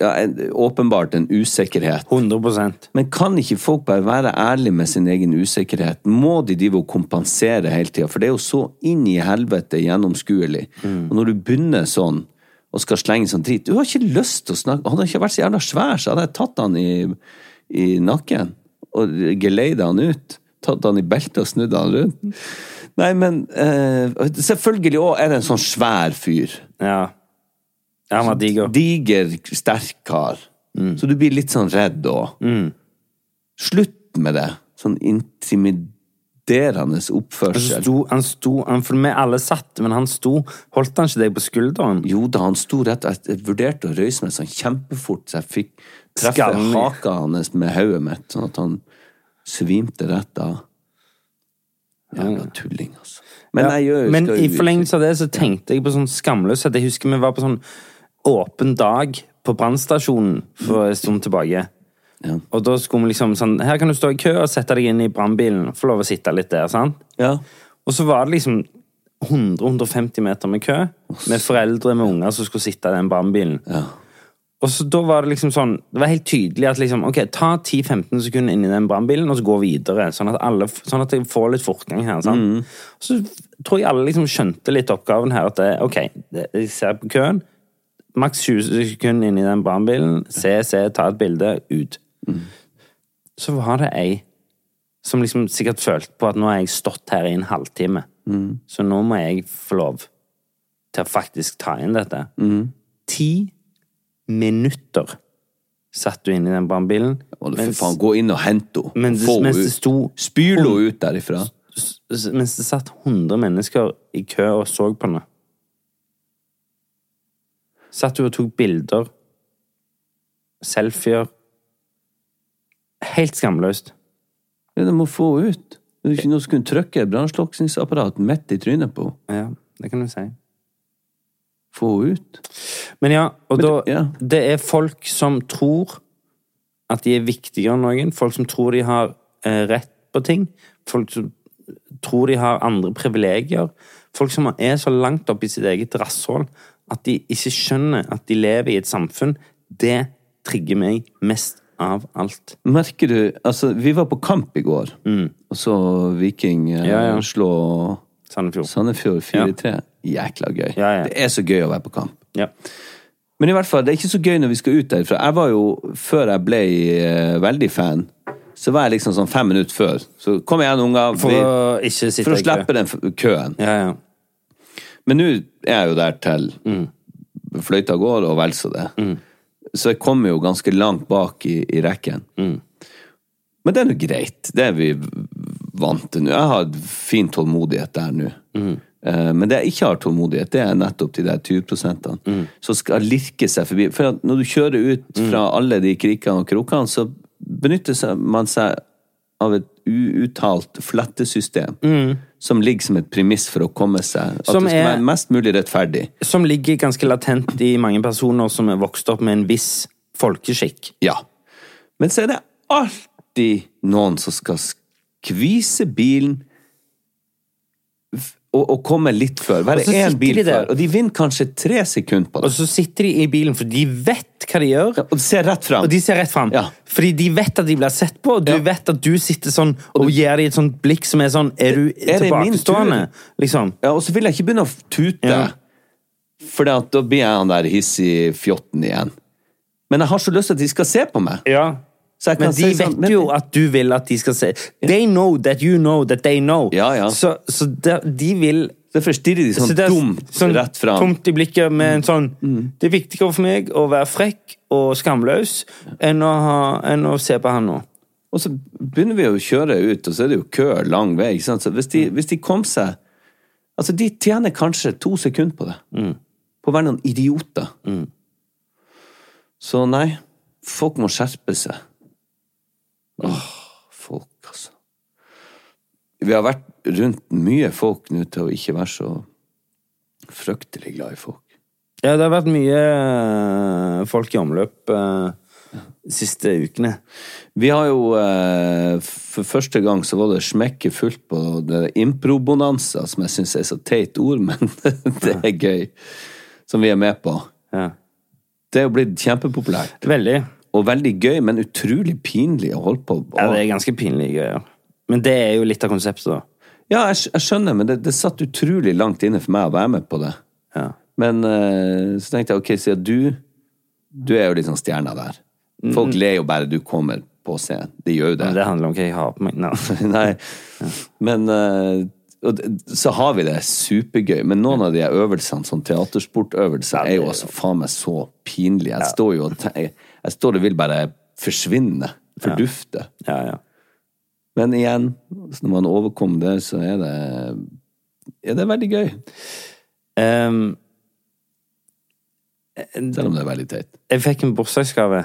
Speaker 3: ja, en, Åpenbart en usikkerhet.
Speaker 2: 100
Speaker 3: Men kan ikke folk bare være ærlige med sin egen usikkerhet? Må de drive og kompensere hele tida? For det er jo så inn i helvete gjennomskuelig. Og når du begynner sånn, og skal slenge sånn drit Du har ikke lyst til å snakke Hadde han ikke vært så jævla svær, så hadde jeg tatt han i, i nakken. Og geleida han ut. Tatt han i beltet og snudd han rundt. Nei, men eh, Selvfølgelig òg er det en sånn svær fyr
Speaker 2: Ja. Ja, han var diger. Mm.
Speaker 3: diger, sterk kar. Så du blir litt sånn redd òg. Slutt med det. Sånn intimiderende
Speaker 2: Han
Speaker 3: oppførsel.
Speaker 2: sto, han sto han, For vi alle satt, men han sto. Holdt han ikke deg på skulderen?
Speaker 3: Jo da, han sto rett Jeg vurderte å røyse meg sånn kjempefort, så jeg fikk treffe
Speaker 2: Skammelig.
Speaker 3: haka hans med hodet mitt, sånn at han svimte rett av. Jævla tulling, altså. Men jeg gjør
Speaker 2: Mm. Men
Speaker 3: skal
Speaker 2: i
Speaker 3: jo-
Speaker 2: forlengelse av det så tenkte jeg på sånn skamløshet. Jeg husker vi var på sånn åpen dag på brannstasjonen for en stund tilbake.
Speaker 3: Ja.
Speaker 2: Og da skulle vi liksom sånn Her kan du stå i kø og sette deg inn i brannbilen. Få lov å sitte litt der, sant?
Speaker 3: Ja.
Speaker 2: Og så var det liksom 100-150 meter med kø, med foreldre med unger som skulle sitte i den brannbilen. Og så da var det liksom sånn, det var helt tydelig at liksom, ok, ta 10-15 sekunder inn i den brannbilen, og så gå videre, sånn at, alle, sånn at jeg får litt fortgang her, sant? Så tror jeg alle liksom skjønte litt oppgaven her, at det, ok, det, jeg ser på køen, maks 20 sekunder inn i den brannbilen, se, se, ta et bilde, ut. Så var det ei som liksom sikkert følte på at nå har jeg stått her i en halvtime, så nå må jeg få lov til å faktisk ta inn dette. Ti minutter satt du inne i den brannbilen.
Speaker 3: Og for
Speaker 2: mens-
Speaker 3: faen, gå inn og hent henne.
Speaker 2: mens-
Speaker 3: Få
Speaker 2: mens det
Speaker 3: henne ut.
Speaker 2: sto-
Speaker 3: Spyl henne ut derifra.
Speaker 2: s- s- Mens det satt 100 mennesker i kø og så på henne. Satt du og tok bilder, selfier. Helt skamløst.
Speaker 3: Ja, du må få henne ut. Det er jo ikke noe som kunne trykke et brannslukningsapparat midt i trynet på henne.
Speaker 2: Ja, det kan du si.
Speaker 3: Få henne ut.
Speaker 2: Men ja, og da,
Speaker 3: det- ja.
Speaker 2: det er folk som tror at de er viktigere enn noen. Folk som tror de har eh, rett på ting. Folk som tror de har andre privilegier. Folk som er så langt opp i sitt eget rasshold at de ikke skjønner at de lever i et samfunn. Det trigger meg mest av alt.
Speaker 3: Merker du Altså, vi var på kamp i går, og så Viking eh,
Speaker 2: Mm. Ja, ja.
Speaker 3: slå
Speaker 2: Sandefjord.
Speaker 3: Sånn. Sandefjord 4-3. Jækla gøy.
Speaker 2: Ja, ja.
Speaker 3: Det er så gøy å være på kamp.
Speaker 2: Ja.
Speaker 3: Men i hvert fall, det er ikke så gøy når vi skal ut derfra. Jeg var jo, før jeg ble eh, veldig fan, så var jeg liksom sånn fem minutter før. Så kom igjen, unger.
Speaker 2: For
Speaker 3: vi-
Speaker 2: å ikke sitte
Speaker 3: for å
Speaker 2: i kø.
Speaker 3: slippe den f- køen.
Speaker 2: Ja, ja.
Speaker 3: Men nå er jeg jo der til fløyta går, og vel så det.
Speaker 2: Mm.
Speaker 3: Så jeg kommer jo ganske langt bak i, i rekken.
Speaker 2: Mm.
Speaker 3: Men det er nå greit. Det er vi vant til nå. Jeg har fin tålmodighet der nå.
Speaker 2: Mm.
Speaker 3: Eh, Men det jeg ikke har tålmodighet, det er nettopp de der 20
Speaker 2: Mm.
Speaker 3: som skal lirke seg forbi. For at når du kjører ut fra alle de krikene og krokene, så benytter seg- man seg av et uuttalt flettesystem som ligger som et premiss for å komme seg. At
Speaker 2: Mm. Som
Speaker 3: det skal
Speaker 2: er-
Speaker 3: være mest mulig rettferdig.
Speaker 2: Som ligger ganske latent i mange personer som er vokst opp med en viss folkeskikk.
Speaker 3: Ja. Men så er det alltid noen som skal skvise bilen f- og, og komme litt før.
Speaker 2: Og
Speaker 3: Være
Speaker 2: så
Speaker 3: én
Speaker 2: sitter
Speaker 3: bil
Speaker 2: de der.
Speaker 3: før. Og de vinner kanskje tre sekunder på
Speaker 2: Og
Speaker 3: det.
Speaker 2: så sitter de i bilen, for de vet hva de gjør.
Speaker 3: Og de ser rett fram.
Speaker 2: Og de ser rett fram.
Speaker 3: Ja.
Speaker 2: Fordi de vet at de blir sett på, og du
Speaker 3: Ja.
Speaker 2: vet at du sitter sånn og gir dem et sånt blikk som er sånn Er du
Speaker 3: Er det min
Speaker 2: tilbakestående? Liksom.
Speaker 3: Ja, og så vil jeg ikke begynne å tute,
Speaker 2: Ja.
Speaker 3: for da blir jeg han der hissige fjotten igjen. Men jeg har så lyst til at de skal se på meg.
Speaker 2: Ja.
Speaker 3: Så jeg kan
Speaker 2: Men de
Speaker 3: si sånn,
Speaker 2: vet jo at du vil at de skal se They know that you know that they know.
Speaker 3: Ja, ja.
Speaker 2: Så, så de, de vil
Speaker 3: Derfor stirrer de sånn
Speaker 2: så det er
Speaker 3: dumt
Speaker 2: sånn
Speaker 3: rett fram. Mm.
Speaker 2: Tomt i blikket med en sånn Det er viktigere for meg å være frekk og skamløs enn å, ha, enn å se på han nå.
Speaker 3: Og så begynner vi å kjøre ut, og så er det jo kø lang vei. Ikke sant? Så hvis de, hvis de kom seg Altså, de tjener kanskje to sekunder på det. På å være noen idioter. Så nei, folk må skjerpe seg. Åh, folk, altså. Vi har vært rundt mye folk nå til å ikke være så fryktelig glad i folk.
Speaker 2: Ja, det har vært mye eh, folk i omløp eh, siste ukene.
Speaker 3: Vi har jo eh, For første gang så var det smekke fullt på det improbonanza, som jeg syns er så teit ord, men det er gøy. Som vi er med på.
Speaker 2: Ja.
Speaker 3: Det er jo blitt kjempepopulært.
Speaker 2: Veldig.
Speaker 3: Og veldig gøy, men utrolig pinlig å holde på
Speaker 2: Ja, det er ganske pinlige greier. Men det er jo litt av konseptet, da.
Speaker 3: Ja, jeg, skj- jeg skjønner, men det, det satt utrolig langt inne for meg å være med på det. Men eh, så tenkte jeg, ok, siden du Du er jo litt sånn stjerna der. Folk ler jo bare du kommer på scenen. De gjør jo det.
Speaker 2: Mm, Men det handler om hva jeg har på meg. Nei.
Speaker 3: Nei. Men eh, og d- så har vi det supergøy, men noen av de her øvelsene, sånn teatersportøvelser, er jo altså faen meg så pinlige. Jeg står jo og te- Jeg står og vil bare forsvinne, fordufte.
Speaker 2: Ja, ja.
Speaker 3: Men igjen, så når man overkom det, så er det er det veldig gøy.
Speaker 2: Ehm,
Speaker 3: Selv om det er veldig teit.
Speaker 2: jeg fikk en bursdagsgave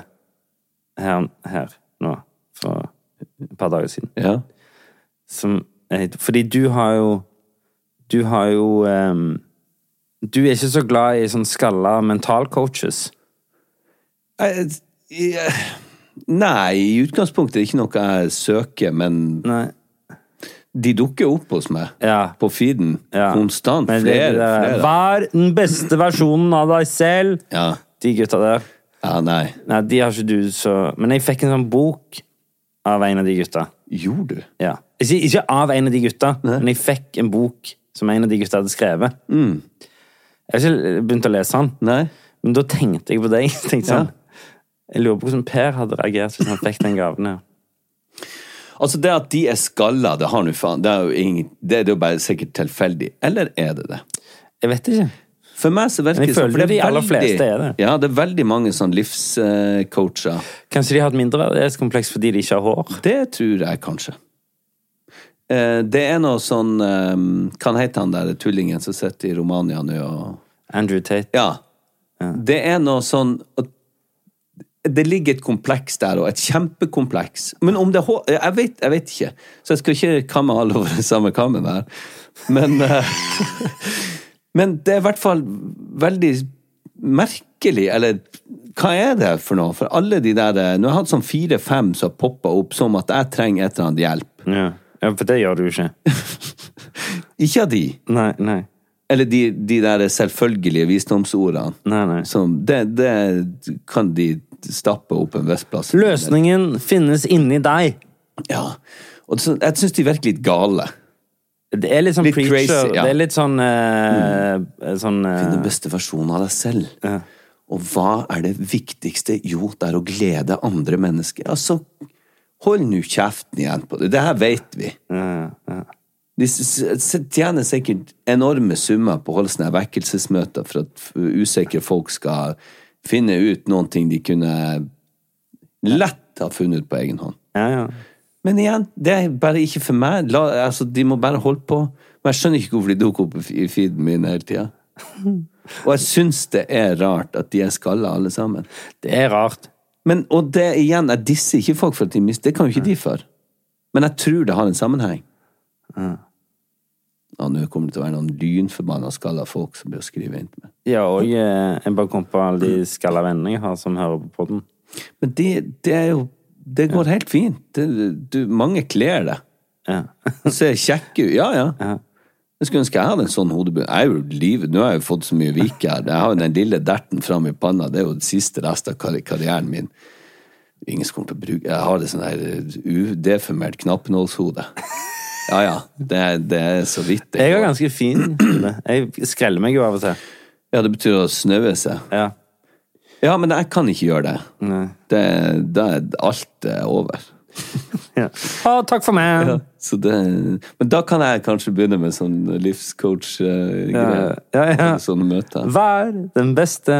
Speaker 2: her, her nå for et par dager siden.
Speaker 3: Ja.
Speaker 2: Som, eh, fordi du har jo Du har jo ehm, Du er ikke så glad i sånn skalla mentalcoaches.
Speaker 3: Jeg, jeg, Eh, nei, i utgangspunktet er det ikke noe jeg søker, men
Speaker 2: Nei.
Speaker 3: de dukker opp hos meg.
Speaker 2: Ja.
Speaker 3: På feeden.
Speaker 2: Ja.
Speaker 3: Konstant.
Speaker 2: Men det-
Speaker 3: Flere.
Speaker 2: det der,
Speaker 3: flere.
Speaker 2: Vær den beste versjonen av deg selv!
Speaker 3: Ja.
Speaker 2: De gutta der.
Speaker 3: ja, nei.
Speaker 2: Nei, de har ikke du så Men jeg fikk en sånn bok av en av de gutta.
Speaker 3: Gjorde du?
Speaker 2: Ja. Ikke, ikke av en av de gutta, men jeg fikk en bok som en av de gutta hadde skrevet.
Speaker 3: Mm.
Speaker 2: Jeg har ikke begynt å lese den,
Speaker 3: Nei.
Speaker 2: men da tenkte jeg på deg. Jeg tenkte
Speaker 3: Ja.
Speaker 2: sånn, jeg lurer på hvordan Per hadde reagert hvis han fikk den gaven. her.
Speaker 3: Altså, det at de er skalla, det har nå faen Det er jo ingen, det er jo bare sikkert tilfeldig. Eller er det det?
Speaker 2: Jeg vet ikke.
Speaker 3: For meg så virker
Speaker 2: Men jeg
Speaker 3: det sånn, for det
Speaker 2: føler de aller fleste er det.
Speaker 3: Ja, det er veldig mange sånn livscoacher.
Speaker 2: Kanskje de har et mindreverdighetskompleks fordi de ikke har hår?
Speaker 3: Det tror jeg kanskje. Eh, Det er noe sånn eh, Kan hete han der tullingen som sitter i Romania nå og
Speaker 2: Andrew Tate.
Speaker 3: Ja. Det er noe sånn at Det ligger et kompleks der, og et kjempekompleks. Men om det er hår Jeg vet, jeg vet ikke. Så jeg skal ikke kamme alle over den samme kammen her. Men, eh, men det er i hvert fall veldig merkelig, eller hva er det for noe? For alle de der eh, Nå har jeg hatt sånn fire-fem som har poppa opp som at jeg trenger et eller annet hjelp.
Speaker 2: Ja. ja, for det gjør du ikke.
Speaker 3: Ikke av de.
Speaker 2: Nei, nei.
Speaker 3: Eller de, de der eh, selvfølgelige visdomsordene.
Speaker 2: Nei, nei.
Speaker 3: Som, det, det kan de stappe opp en viss plass.
Speaker 2: Løsningen finnes inni deg.
Speaker 3: Ja. Og så, jeg syns de virker litt gale.
Speaker 2: Det er litt sånn
Speaker 3: Litt
Speaker 2: preacher.
Speaker 3: crazy, ja.
Speaker 2: Det er litt sånn eh, sånn eh,
Speaker 3: Den beste versjonen av deg selv. Og hva er det viktigste? Jo, det er å glede andre mennesker. Altså, hold nå kjeften igjen på det. Det her vet vi. De s- s- tjener sikkert enorme summer på å holde sånne her vekkelsesmøter for at f- usikre folk skal finne ut noen ting de kunne lett ha funnet ut på egen hånd.
Speaker 2: Ja, ja.
Speaker 3: Men igjen, det er bare ikke for meg. La, altså, de må bare holde på. Men jeg skjønner ikke hvorfor de dukker opp i fe- i feeden min hele tida. Og jeg syns det er rart at de er skalla, alle sammen.
Speaker 2: Det er rart.
Speaker 3: Men, og det igjen, jeg disser ikke folk for at de mister Det kan jo ikke de for. Men jeg tror det har en sammenheng. Ja, nå kommer det til å være noen lynforbanna skalla folk som blir å skrive inn til meg.
Speaker 2: Ja, og eh, jeg bare kom på alle de skalla vennene jeg har som hører på podden.
Speaker 3: Men det, det er jo Det går helt fint. Det, du, mange kler det.
Speaker 2: Ja.
Speaker 3: Du ser kjekk ut. Ja, ja. Jeg skulle ønske jeg hadde en sånn hodebunn. Jeg er jo livet. Nå har jeg jo fått så mye vike her. Jeg har jo den lille derten fram i panna. Det er jo den siste rest av karri- karrieren min. Ingen som kommer til å bruke Jeg har det sånn her udeformert knappenålshode. Ja, ja. Det, er- det er så vidt. det
Speaker 2: Jeg er
Speaker 3: går.
Speaker 2: ganske fin. Jeg skreller meg jo av og til.
Speaker 3: Ja, det betyr å snaue seg.
Speaker 2: Ja.
Speaker 3: Ja, men jeg kan ikke gjøre det. Det, da er alt eh, over.
Speaker 2: ja. Å, takk for meg!
Speaker 3: Så det, men da kan jeg kanskje begynne med sånn livscoach-greier.
Speaker 2: Ja, ja, ja.
Speaker 3: Sånne møter.
Speaker 2: Vær den beste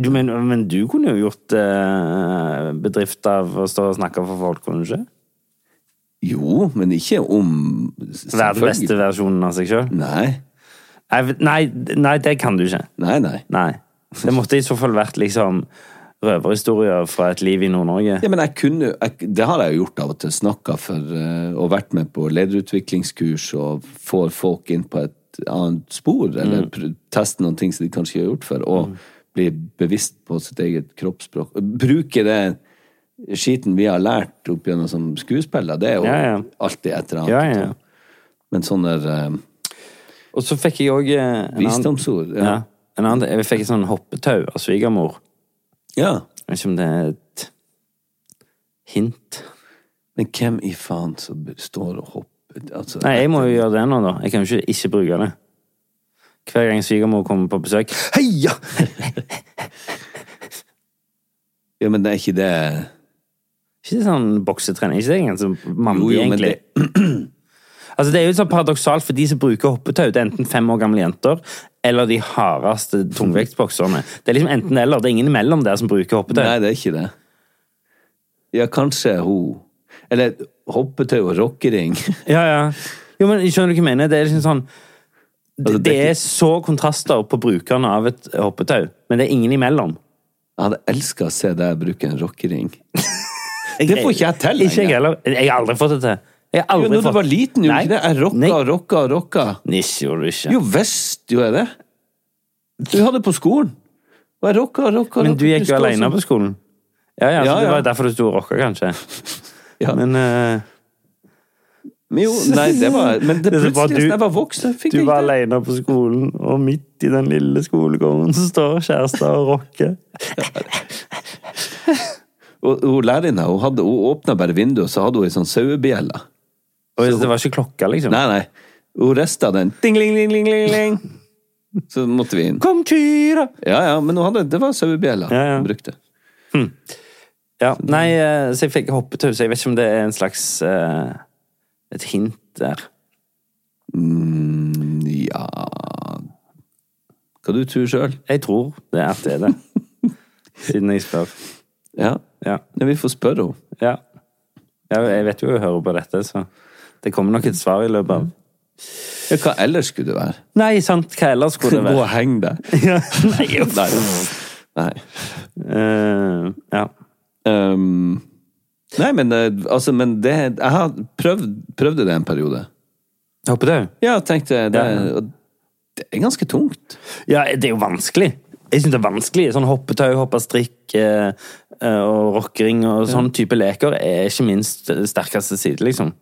Speaker 2: du, men, men du kunne jo gjort eh, bedrift av å stå og snakke for folk, kunne du ikke?
Speaker 3: Jo, men ikke om
Speaker 2: Være den beste versjonen av seg sjøl?
Speaker 3: Nei,
Speaker 2: Nei, nei, det kan du ikke.
Speaker 3: nei, nei.
Speaker 2: Nei. Det måtte i så fall vært liksom røverhistorier fra et liv i Nord-Norge.
Speaker 3: Ja, men jeg kunne, jeg, det har jeg jo gjort av og til. Snakka for eh, og vært med på lederutviklingskurs og
Speaker 2: Mm.
Speaker 3: får folk inn på et annet spor, eller pr teste noen ting som de kanskje ikke har gjort før. Og blir bevisst på sitt eget kroppsspråk. Bruke det skiten vi har lært opp gjennom som skuespiller, det er jo
Speaker 2: Ja, ja.
Speaker 3: alltid et eller annet.
Speaker 2: Ja, ja.
Speaker 3: Men sånne eh,
Speaker 2: Og så fikk jeg òg
Speaker 3: visdomsord
Speaker 2: Ja. En annen, jeg fikk et sånn hoppetau av svigermor.
Speaker 3: ja.
Speaker 2: Jeg vet ikke om det er et hint.
Speaker 3: Men hvem i faen som står og hopper altså,
Speaker 2: Nei, jeg må jo gjøre det nå, da. Jeg kan jo ikke ikke bruke det. Hver gang svigermor kommer på besøk Heia!
Speaker 3: Ja, men det er ikke det
Speaker 2: Ikke sånn boksetrening. Ikke det engang som
Speaker 3: Jo,
Speaker 2: mandig,
Speaker 3: jo, men
Speaker 2: egentlig.
Speaker 3: det
Speaker 2: Altså, det er jo sånn paradoksalt for de som bruker hoppetau. Det er enten fem år gamle jenter eller de hardeste tungvektsbokserne. Det er liksom enten eller. Det er ingen imellom der som bruker hoppetau.
Speaker 3: Nei, det er ikke det. Ja, kanskje hun Eller hoppetau og rockering.
Speaker 2: Ja, ja. Jo, men skjønner du hva jeg mener? Det er liksom sånn det,
Speaker 3: Altså, det er
Speaker 2: det
Speaker 3: ikke-
Speaker 2: er så kontraster på brukerne av et hoppetau, men det er ingen imellom.
Speaker 3: Jeg hadde elska å se deg bruke en rockering. Det får ikke jeg til
Speaker 2: Ikke jeg heller. Jeg har aldri fått det til. Jeg har
Speaker 3: Jo,
Speaker 2: aldri
Speaker 3: når du
Speaker 2: fått
Speaker 3: var liten, gjorde du ikke det? Jeg rocka og rocka og rocka.
Speaker 2: Nisje gjorde du ikke.
Speaker 3: Jo visst gjorde jeg det. Du hadde det på skolen. Og jeg rocka og rocka. og
Speaker 2: men
Speaker 3: rocka.
Speaker 2: du gikk jo
Speaker 3: står
Speaker 2: alene
Speaker 3: som-
Speaker 2: på skolen. Ja, ja, så
Speaker 3: Ja,
Speaker 2: det
Speaker 3: ja.
Speaker 2: var derfor du sto og rocka, kanskje.
Speaker 3: Ja.
Speaker 2: Men eh,
Speaker 3: Men jo, nei, det var Men det
Speaker 2: Det er så bra
Speaker 3: plutselig,
Speaker 2: du-
Speaker 3: da jeg var voksen, fikk
Speaker 2: du
Speaker 3: jeg
Speaker 2: var
Speaker 3: ikke det.
Speaker 2: alene på skolen, og midt i den lille skolegården så står kjæresten og rocker.
Speaker 3: Og hun lærerinna hun, hadde- hun åpna bare vinduet, og så hadde hun ei sånn sauebjelle.
Speaker 2: Og det var ikke klokka, liksom.
Speaker 3: Nei, nei. Hun rista den. Ding, ling, ling, ling, ling, ling. Så måtte vi inn.
Speaker 2: Kom, Tyra!
Speaker 3: Ja, ja, men hun hadde, det var sauebjella
Speaker 2: Ja, ja.
Speaker 3: hun brukte.
Speaker 2: Ja, nei, eh, så jeg fikk hoppetau, så jeg vet ikke om det er en slags eh, Et hint der.
Speaker 3: Mm, ja Hva du tror sjøl?
Speaker 2: Jeg tror det er at det er det. Siden jeg spør.
Speaker 3: Ja.
Speaker 2: Ja.
Speaker 3: Nei, vi får spørre henne.
Speaker 2: Ja. ja jeg vet jo hun hører på dette, så det kommer nok et svar i løpet av
Speaker 3: Ja, hva ellers skulle det være?
Speaker 2: Nei, sant, hva ellers skulle det
Speaker 3: Gå
Speaker 2: være?
Speaker 3: og heng deg.
Speaker 2: Nei, uff.
Speaker 3: Nei. Nei.
Speaker 2: Eh, ja.
Speaker 3: Um, nei, men eh, altså, men det Jeg har prøvd, prøvde det en periode.
Speaker 2: Hoppetau?
Speaker 3: Ja, tenkte det,
Speaker 2: Ja.
Speaker 3: og det er ganske tungt.
Speaker 2: Ja, det er jo vanskelig. Jeg syns det er vanskelig. Sånn hoppetau, hoppe strikk eh, eh, og rockering og sånn type leker er ikke minst sterkeste side, liksom.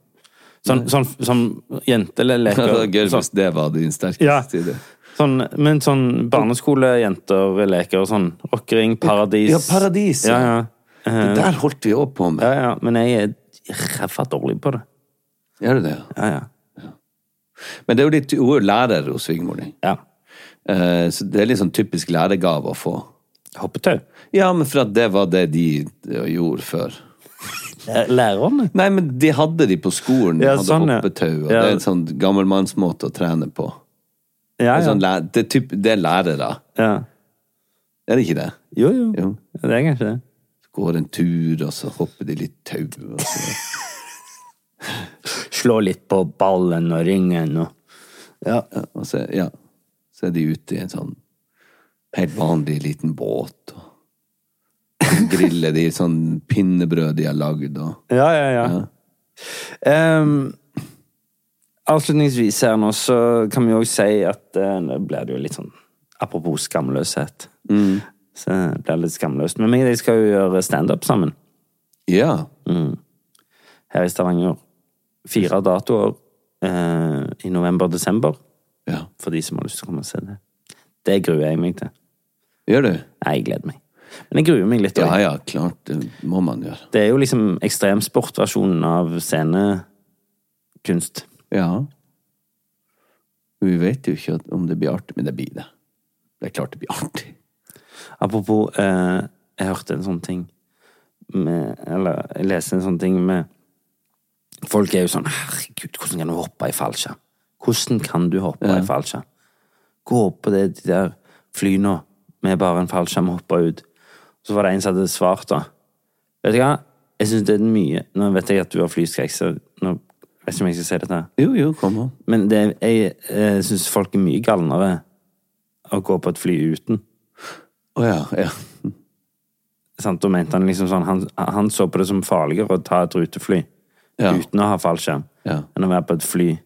Speaker 2: Sånn, sånn, sånn
Speaker 3: Det
Speaker 2: jenteleker.
Speaker 3: var gøy
Speaker 2: sånn,
Speaker 3: hvis det var din sterkeste
Speaker 2: Ja.
Speaker 3: side.
Speaker 2: sånn, men sånn barneskolejenter-leker og sånn. Rockering, paradis.
Speaker 3: Ja, paradis, ja.
Speaker 2: Ja, ja.
Speaker 3: Det der holdt vi òg på med.
Speaker 2: ja, ja. Men jeg er ræva dårlig på det.
Speaker 3: Gjør du det? ja?
Speaker 2: Ja, ja.
Speaker 3: Men det er jo litt, hun er jo lærer hos svigermor di.
Speaker 2: ja.
Speaker 3: Eh, Så det er litt sånn typisk lærergave å få.
Speaker 2: Hoppetau.
Speaker 3: Ja, men for at det var det de eh, gjorde før.
Speaker 2: Lærerne?
Speaker 3: Nei, men de hadde de på skolen. De
Speaker 2: Ja,
Speaker 3: hadde
Speaker 2: sånn, ja.
Speaker 3: hoppetau. Og
Speaker 2: Ja.
Speaker 3: Det er en sånn gammelmannsmåte å trene på.
Speaker 2: Ja,
Speaker 3: Det er,
Speaker 2: ja.
Speaker 3: sånn, læ- det, er typ, det er lærere.
Speaker 2: ja.
Speaker 3: Er det ikke det?
Speaker 2: Jo, jo.
Speaker 3: Jo.
Speaker 2: Det er kanskje det.
Speaker 3: Går en tur, og så hopper de litt tau. Og så.
Speaker 2: Slå litt på ballen og ringen og Ja.
Speaker 3: Ja, og så, ja. så er de ute i en sånn helt vanlig liten båt. Og griller de sånn pinnebrød de har lagd. Og...
Speaker 2: Ja, ja, ja. Ehm, avslutningsvis her nå, så kan vi jo også si at eh, nå blir det jo litt sånn Apropos skamløshet. Så det blir litt skamløst. Men meg og deg skal jo gjøre standup sammen
Speaker 3: Ja.
Speaker 2: her i Stavanger. Fire datoer eh, i november-desember,
Speaker 3: ja.
Speaker 2: for de som har lyst til å komme og se det. Det gruer jeg meg til.
Speaker 3: Gjør du?
Speaker 2: Nei, jeg gleder meg. Men jeg gruer meg litt.
Speaker 3: Ja
Speaker 2: også.
Speaker 3: ja, klart. Det må man gjøre.
Speaker 2: Det er jo liksom ekstremsportversjonen av scenekunst.
Speaker 3: Ja. Vi vet jo ikke at- om det blir artig, men det blir det. Det er klart det blir artig.
Speaker 2: Apropos, eh, jeg hørte en sånn ting med, Eller jeg leste en sånn ting med Folk er jo sånn Herregud, hvordan kan du hoppe i fallskjerm? Hvordan kan du hoppe i fallskjerm? Gå opp på det, de der flyene med bare en fallskjerm og hoppe ut. Så var det en som hadde svart, da. Vet du hva? Jeg synes det er mye Nå vet jeg at du har flyskrekk, så nå vet jeg ikke om jeg skal si dette. her.
Speaker 3: Jo jo, kom an.
Speaker 2: Men det, jeg, jeg syns folk er mye galnere å gå på et fly uten.
Speaker 3: Å ja. ja.
Speaker 2: sant? Da mente han liksom sånn han, han så på det som farligere å ta et rutefly
Speaker 3: Ja.
Speaker 2: uten å ha fallskjerm,
Speaker 3: Ja.
Speaker 2: enn å være på et fly
Speaker 3: Mm.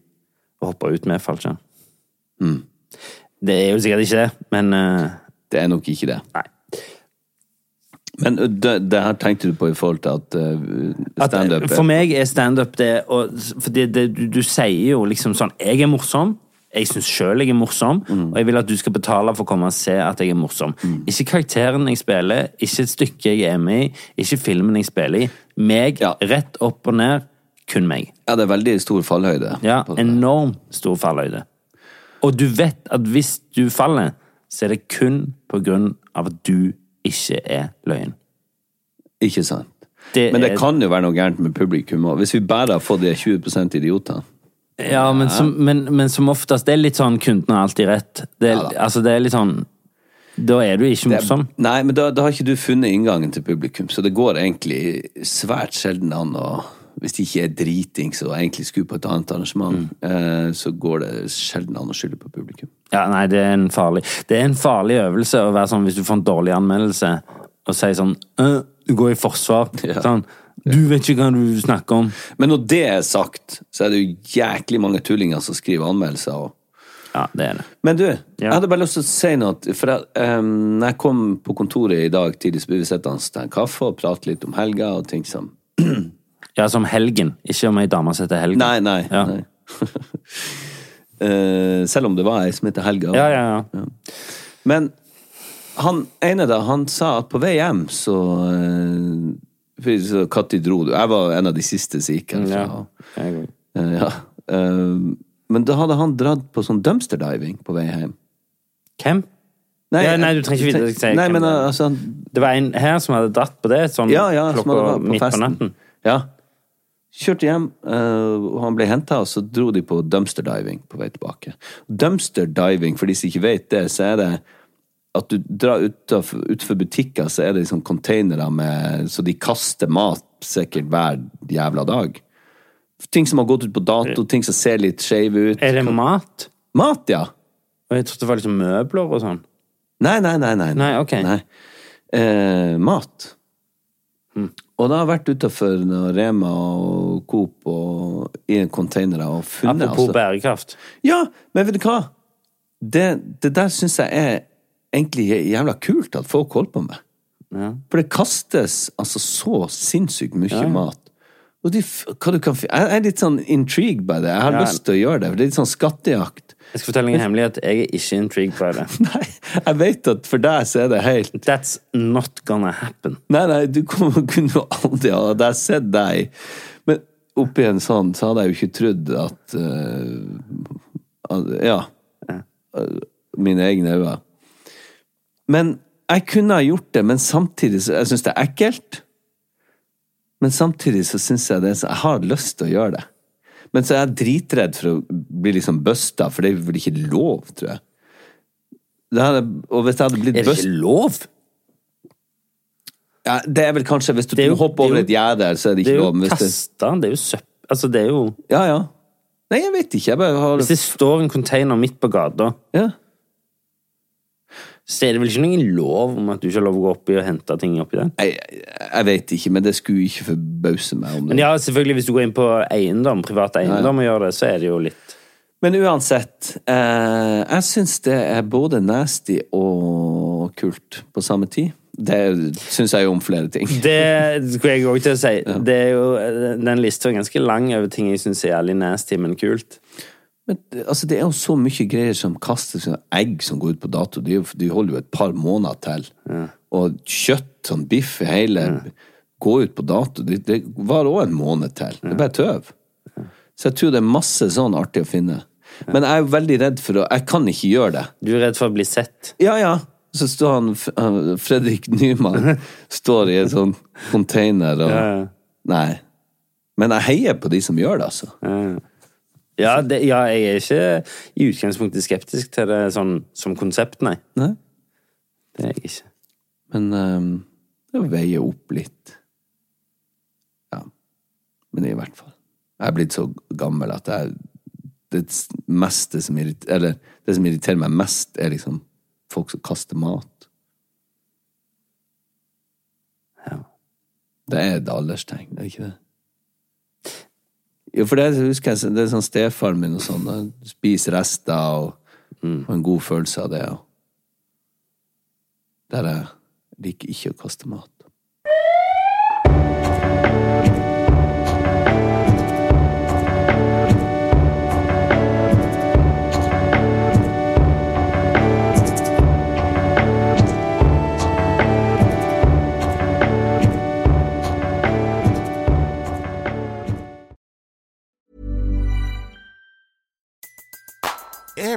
Speaker 2: og hoppe ut med fallskjerm. Det er jo sikkert ikke det, men eh,
Speaker 3: Det er nok ikke det.
Speaker 2: Nei.
Speaker 3: Men ø, det, det her tenkte du på i forhold til at ø,
Speaker 2: At,
Speaker 3: standup
Speaker 2: for meg er standup det og, For det, det, du, du sier jo liksom sånn Jeg er morsom. Jeg syns sjøl jeg er morsom,
Speaker 3: Mm.
Speaker 2: og jeg vil at du skal betale for å komme og se at jeg er morsom. Ikke karakteren jeg spiller, ikke stykket jeg er med i, ikke filmen jeg spiller i. Meg,
Speaker 3: Ja.
Speaker 2: rett opp og ned. Kun meg.
Speaker 3: Ja, det er veldig stor fallhøyde.
Speaker 2: Ja,
Speaker 3: på det.
Speaker 2: enormt stor fallhøyde. Og du vet at hvis du faller, så er det kun på grunn av at du ikke er løgn.
Speaker 3: Ikke sant?
Speaker 2: Det
Speaker 3: men det
Speaker 2: er-
Speaker 3: kan jo være noe gærent med publikum òg, hvis vi bare har fått de 20 idioter.
Speaker 2: Ja, men som, men, men som oftest, det er litt sånn kunden har alltid rett. Det er,
Speaker 3: Ja da.
Speaker 2: altså, det er litt sånn Da er du ikke
Speaker 3: Det-
Speaker 2: morsom.
Speaker 3: Nei, men da, da har ikke du funnet inngangen til publikum, så det går egentlig svært sjelden an å Hvis de ikke er dritings og egentlig skulle på et annet arrangement,
Speaker 2: Mm.
Speaker 3: eh, så går det sjelden an å skylde på publikum.
Speaker 2: Ja, nei, det er en farlig Det er en farlig øvelse å være sånn hvis du får en dårlig anmeldelse, og si sånn «Øh, Du går i forsvar.
Speaker 3: Ja.
Speaker 2: Sånn Du vet ikke hva du snakker om.
Speaker 3: Men når det er sagt, så er det jo jæklig mange tullinger som skriver anmeldelser. og
Speaker 2: Ja, det er det.
Speaker 3: Men du, jeg
Speaker 2: Ja.
Speaker 3: hadde bare lyst til å si noe. at- For jeg, em, når jeg kom på kontoret i dag tidlig, så ble vi sittende og ta en kaffe og prate litt om helga og ting som
Speaker 2: Ja, som helgen. Ikke om ei dame som heter Helgen.
Speaker 3: Nei, nei.
Speaker 2: Ja.
Speaker 3: nei. Eh, selv om det var ei som heter Helga.
Speaker 2: Ja, ja, ja.
Speaker 3: Men han ene da, han sa at på vei hjem så eh, for- så Når dro du? Jeg var en av de siste som gikk herfra.
Speaker 2: Jeg-
Speaker 3: Eh, ja. Eh, men da hadde han dratt på sånn dumpster diving på vei hjem.
Speaker 2: Hvem? Ja, nei, du trenger
Speaker 3: jeg-
Speaker 2: ikke vite det, jeg sier
Speaker 3: Nei,
Speaker 2: hvem
Speaker 3: men
Speaker 2: det er.
Speaker 3: eh, altså han,
Speaker 2: Det var en her som hadde dratt på det sånn
Speaker 3: Ja, ja, som hadde
Speaker 2: klokka
Speaker 3: vært på
Speaker 2: midt på
Speaker 3: festen.
Speaker 2: natten.
Speaker 3: Ja. Kjørte hjem, eh, og han ble henta, og så dro de på dumpster diving på vei tilbake. Dumpster diving, for de som ikke vet det, så er det at du drar utenfor, utenfor butikker, så er det liksom containere med Så de kaster mat sikkert hver jævla dag. Ting som har gått ut på dato, ting som ser litt skeive ut.
Speaker 2: Er det mat?
Speaker 3: Mat, ja!
Speaker 2: Og jeg trodde det var liksom møbler og sånn.
Speaker 3: Nei, nei, nei. Nei,
Speaker 2: Nei, ok.
Speaker 3: Eh, mat. Og da har jeg vært utafor Rema og Coop og i containere og funnet
Speaker 2: Apropos
Speaker 3: altså-
Speaker 2: bærekraft.
Speaker 3: Ja, men vet du hva? Det, det der syns jeg er egentlig jævla kult at folk holder på med. For det kastes altså så sinnssykt mye mat. Og de, f- hva du kan, fi- jeg er litt sånn intrigued by det. Jeg har
Speaker 2: Ja.
Speaker 3: lyst til å gjøre det. For det er litt sånn skattejakt.
Speaker 2: Jeg skal fortelle deg en hemmelighet. Jeg er ikke intrigued by det.
Speaker 3: Nei, jeg vet at for deg så er det helt
Speaker 2: That's not gonna happen.
Speaker 3: Nei, nei, du kommer, kunne jo aldri ha Hadde jeg sett deg Men oppi en sånn, så hadde jeg jo ikke trodd at eh, at- Ja. Eh, Mine egne øyne. Men jeg kunne ha gjort det, men samtidig så Jeg syns det er ekkelt. Men samtidig så syns jeg det er så- Jeg har lyst til å gjøre det. Men så er jeg dritredd for å bli liksom busta, for det er vel ikke lov, tror jeg. Det hadde, og hvis jeg hadde blitt
Speaker 2: Er det
Speaker 3: busta
Speaker 2: ikke lov?
Speaker 3: ja, det er vel kanskje Hvis du
Speaker 2: Det er jo-
Speaker 3: hopper over
Speaker 2: det er jo-
Speaker 3: et gjerde, her, så er det
Speaker 2: Det
Speaker 3: ikke
Speaker 2: er
Speaker 3: lov.
Speaker 2: jo
Speaker 3: men Hvis det,
Speaker 2: kasta, det er jo søppel Altså, det er jo
Speaker 3: ja, ja. Nei, jeg vet ikke. Jeg bare har
Speaker 2: Hvis det står en container midt på gata,
Speaker 3: ja.
Speaker 2: så er det vel ikke noen lov om at du ikke har lov å gå oppi og hente ting oppi den?
Speaker 3: Nei, jeg, jeg vet ikke, men det skulle ikke forbause meg om det.
Speaker 2: Men ja, selvfølgelig, hvis du går inn på eiendom, privat eiendom og gjør det, så er det jo litt
Speaker 3: Men uansett, eh, jeg syns det er både nasty og kult på samme tid. Det syns jeg jo om flere ting.
Speaker 2: Det skulle jeg òg til å si. Det er jo, den lista er ganske lang over ting jeg syns er jævlig nasty, men kult.
Speaker 3: Men det- altså, det er jo så mye greier som kastes, sånne egg som går ut på dato. De, er jo- de holder jo et par måneder til. Og kjøtt, sånn biff i hele, går ut på dato. Det, det varer òg en måned til. Det er bare tøv. Så jeg tror det er masse sånn artig å finne. Men jeg er jo veldig redd for å Jeg kan ikke gjøre det.
Speaker 2: Du er redd for å bli sett.
Speaker 3: Ja, ja. Så står han F- eh, Fredrik Nyman står i en sånn container og Nei. Men jeg heier på de som gjør det, altså.
Speaker 2: Ja, det, ja, jeg er ikke i utgangspunktet skeptisk til det sånn, som konsept, nei.
Speaker 3: Nei?
Speaker 2: Det er jeg ikke.
Speaker 3: Men ehm, det veier opp litt. Ja. Men i hvert fall. Jeg er blitt så gammel at jeg Det s- meste som irriterer Eller det som irriterer meg mest, er liksom folk som kaster mat. Det er et alderstegn, er det ikke det? Jo, for det husker jeg så- det er sånn stefaren min og sånn. da, Spiser rester og får en god følelse av det. Og der jeg liker ikke å kaste mat.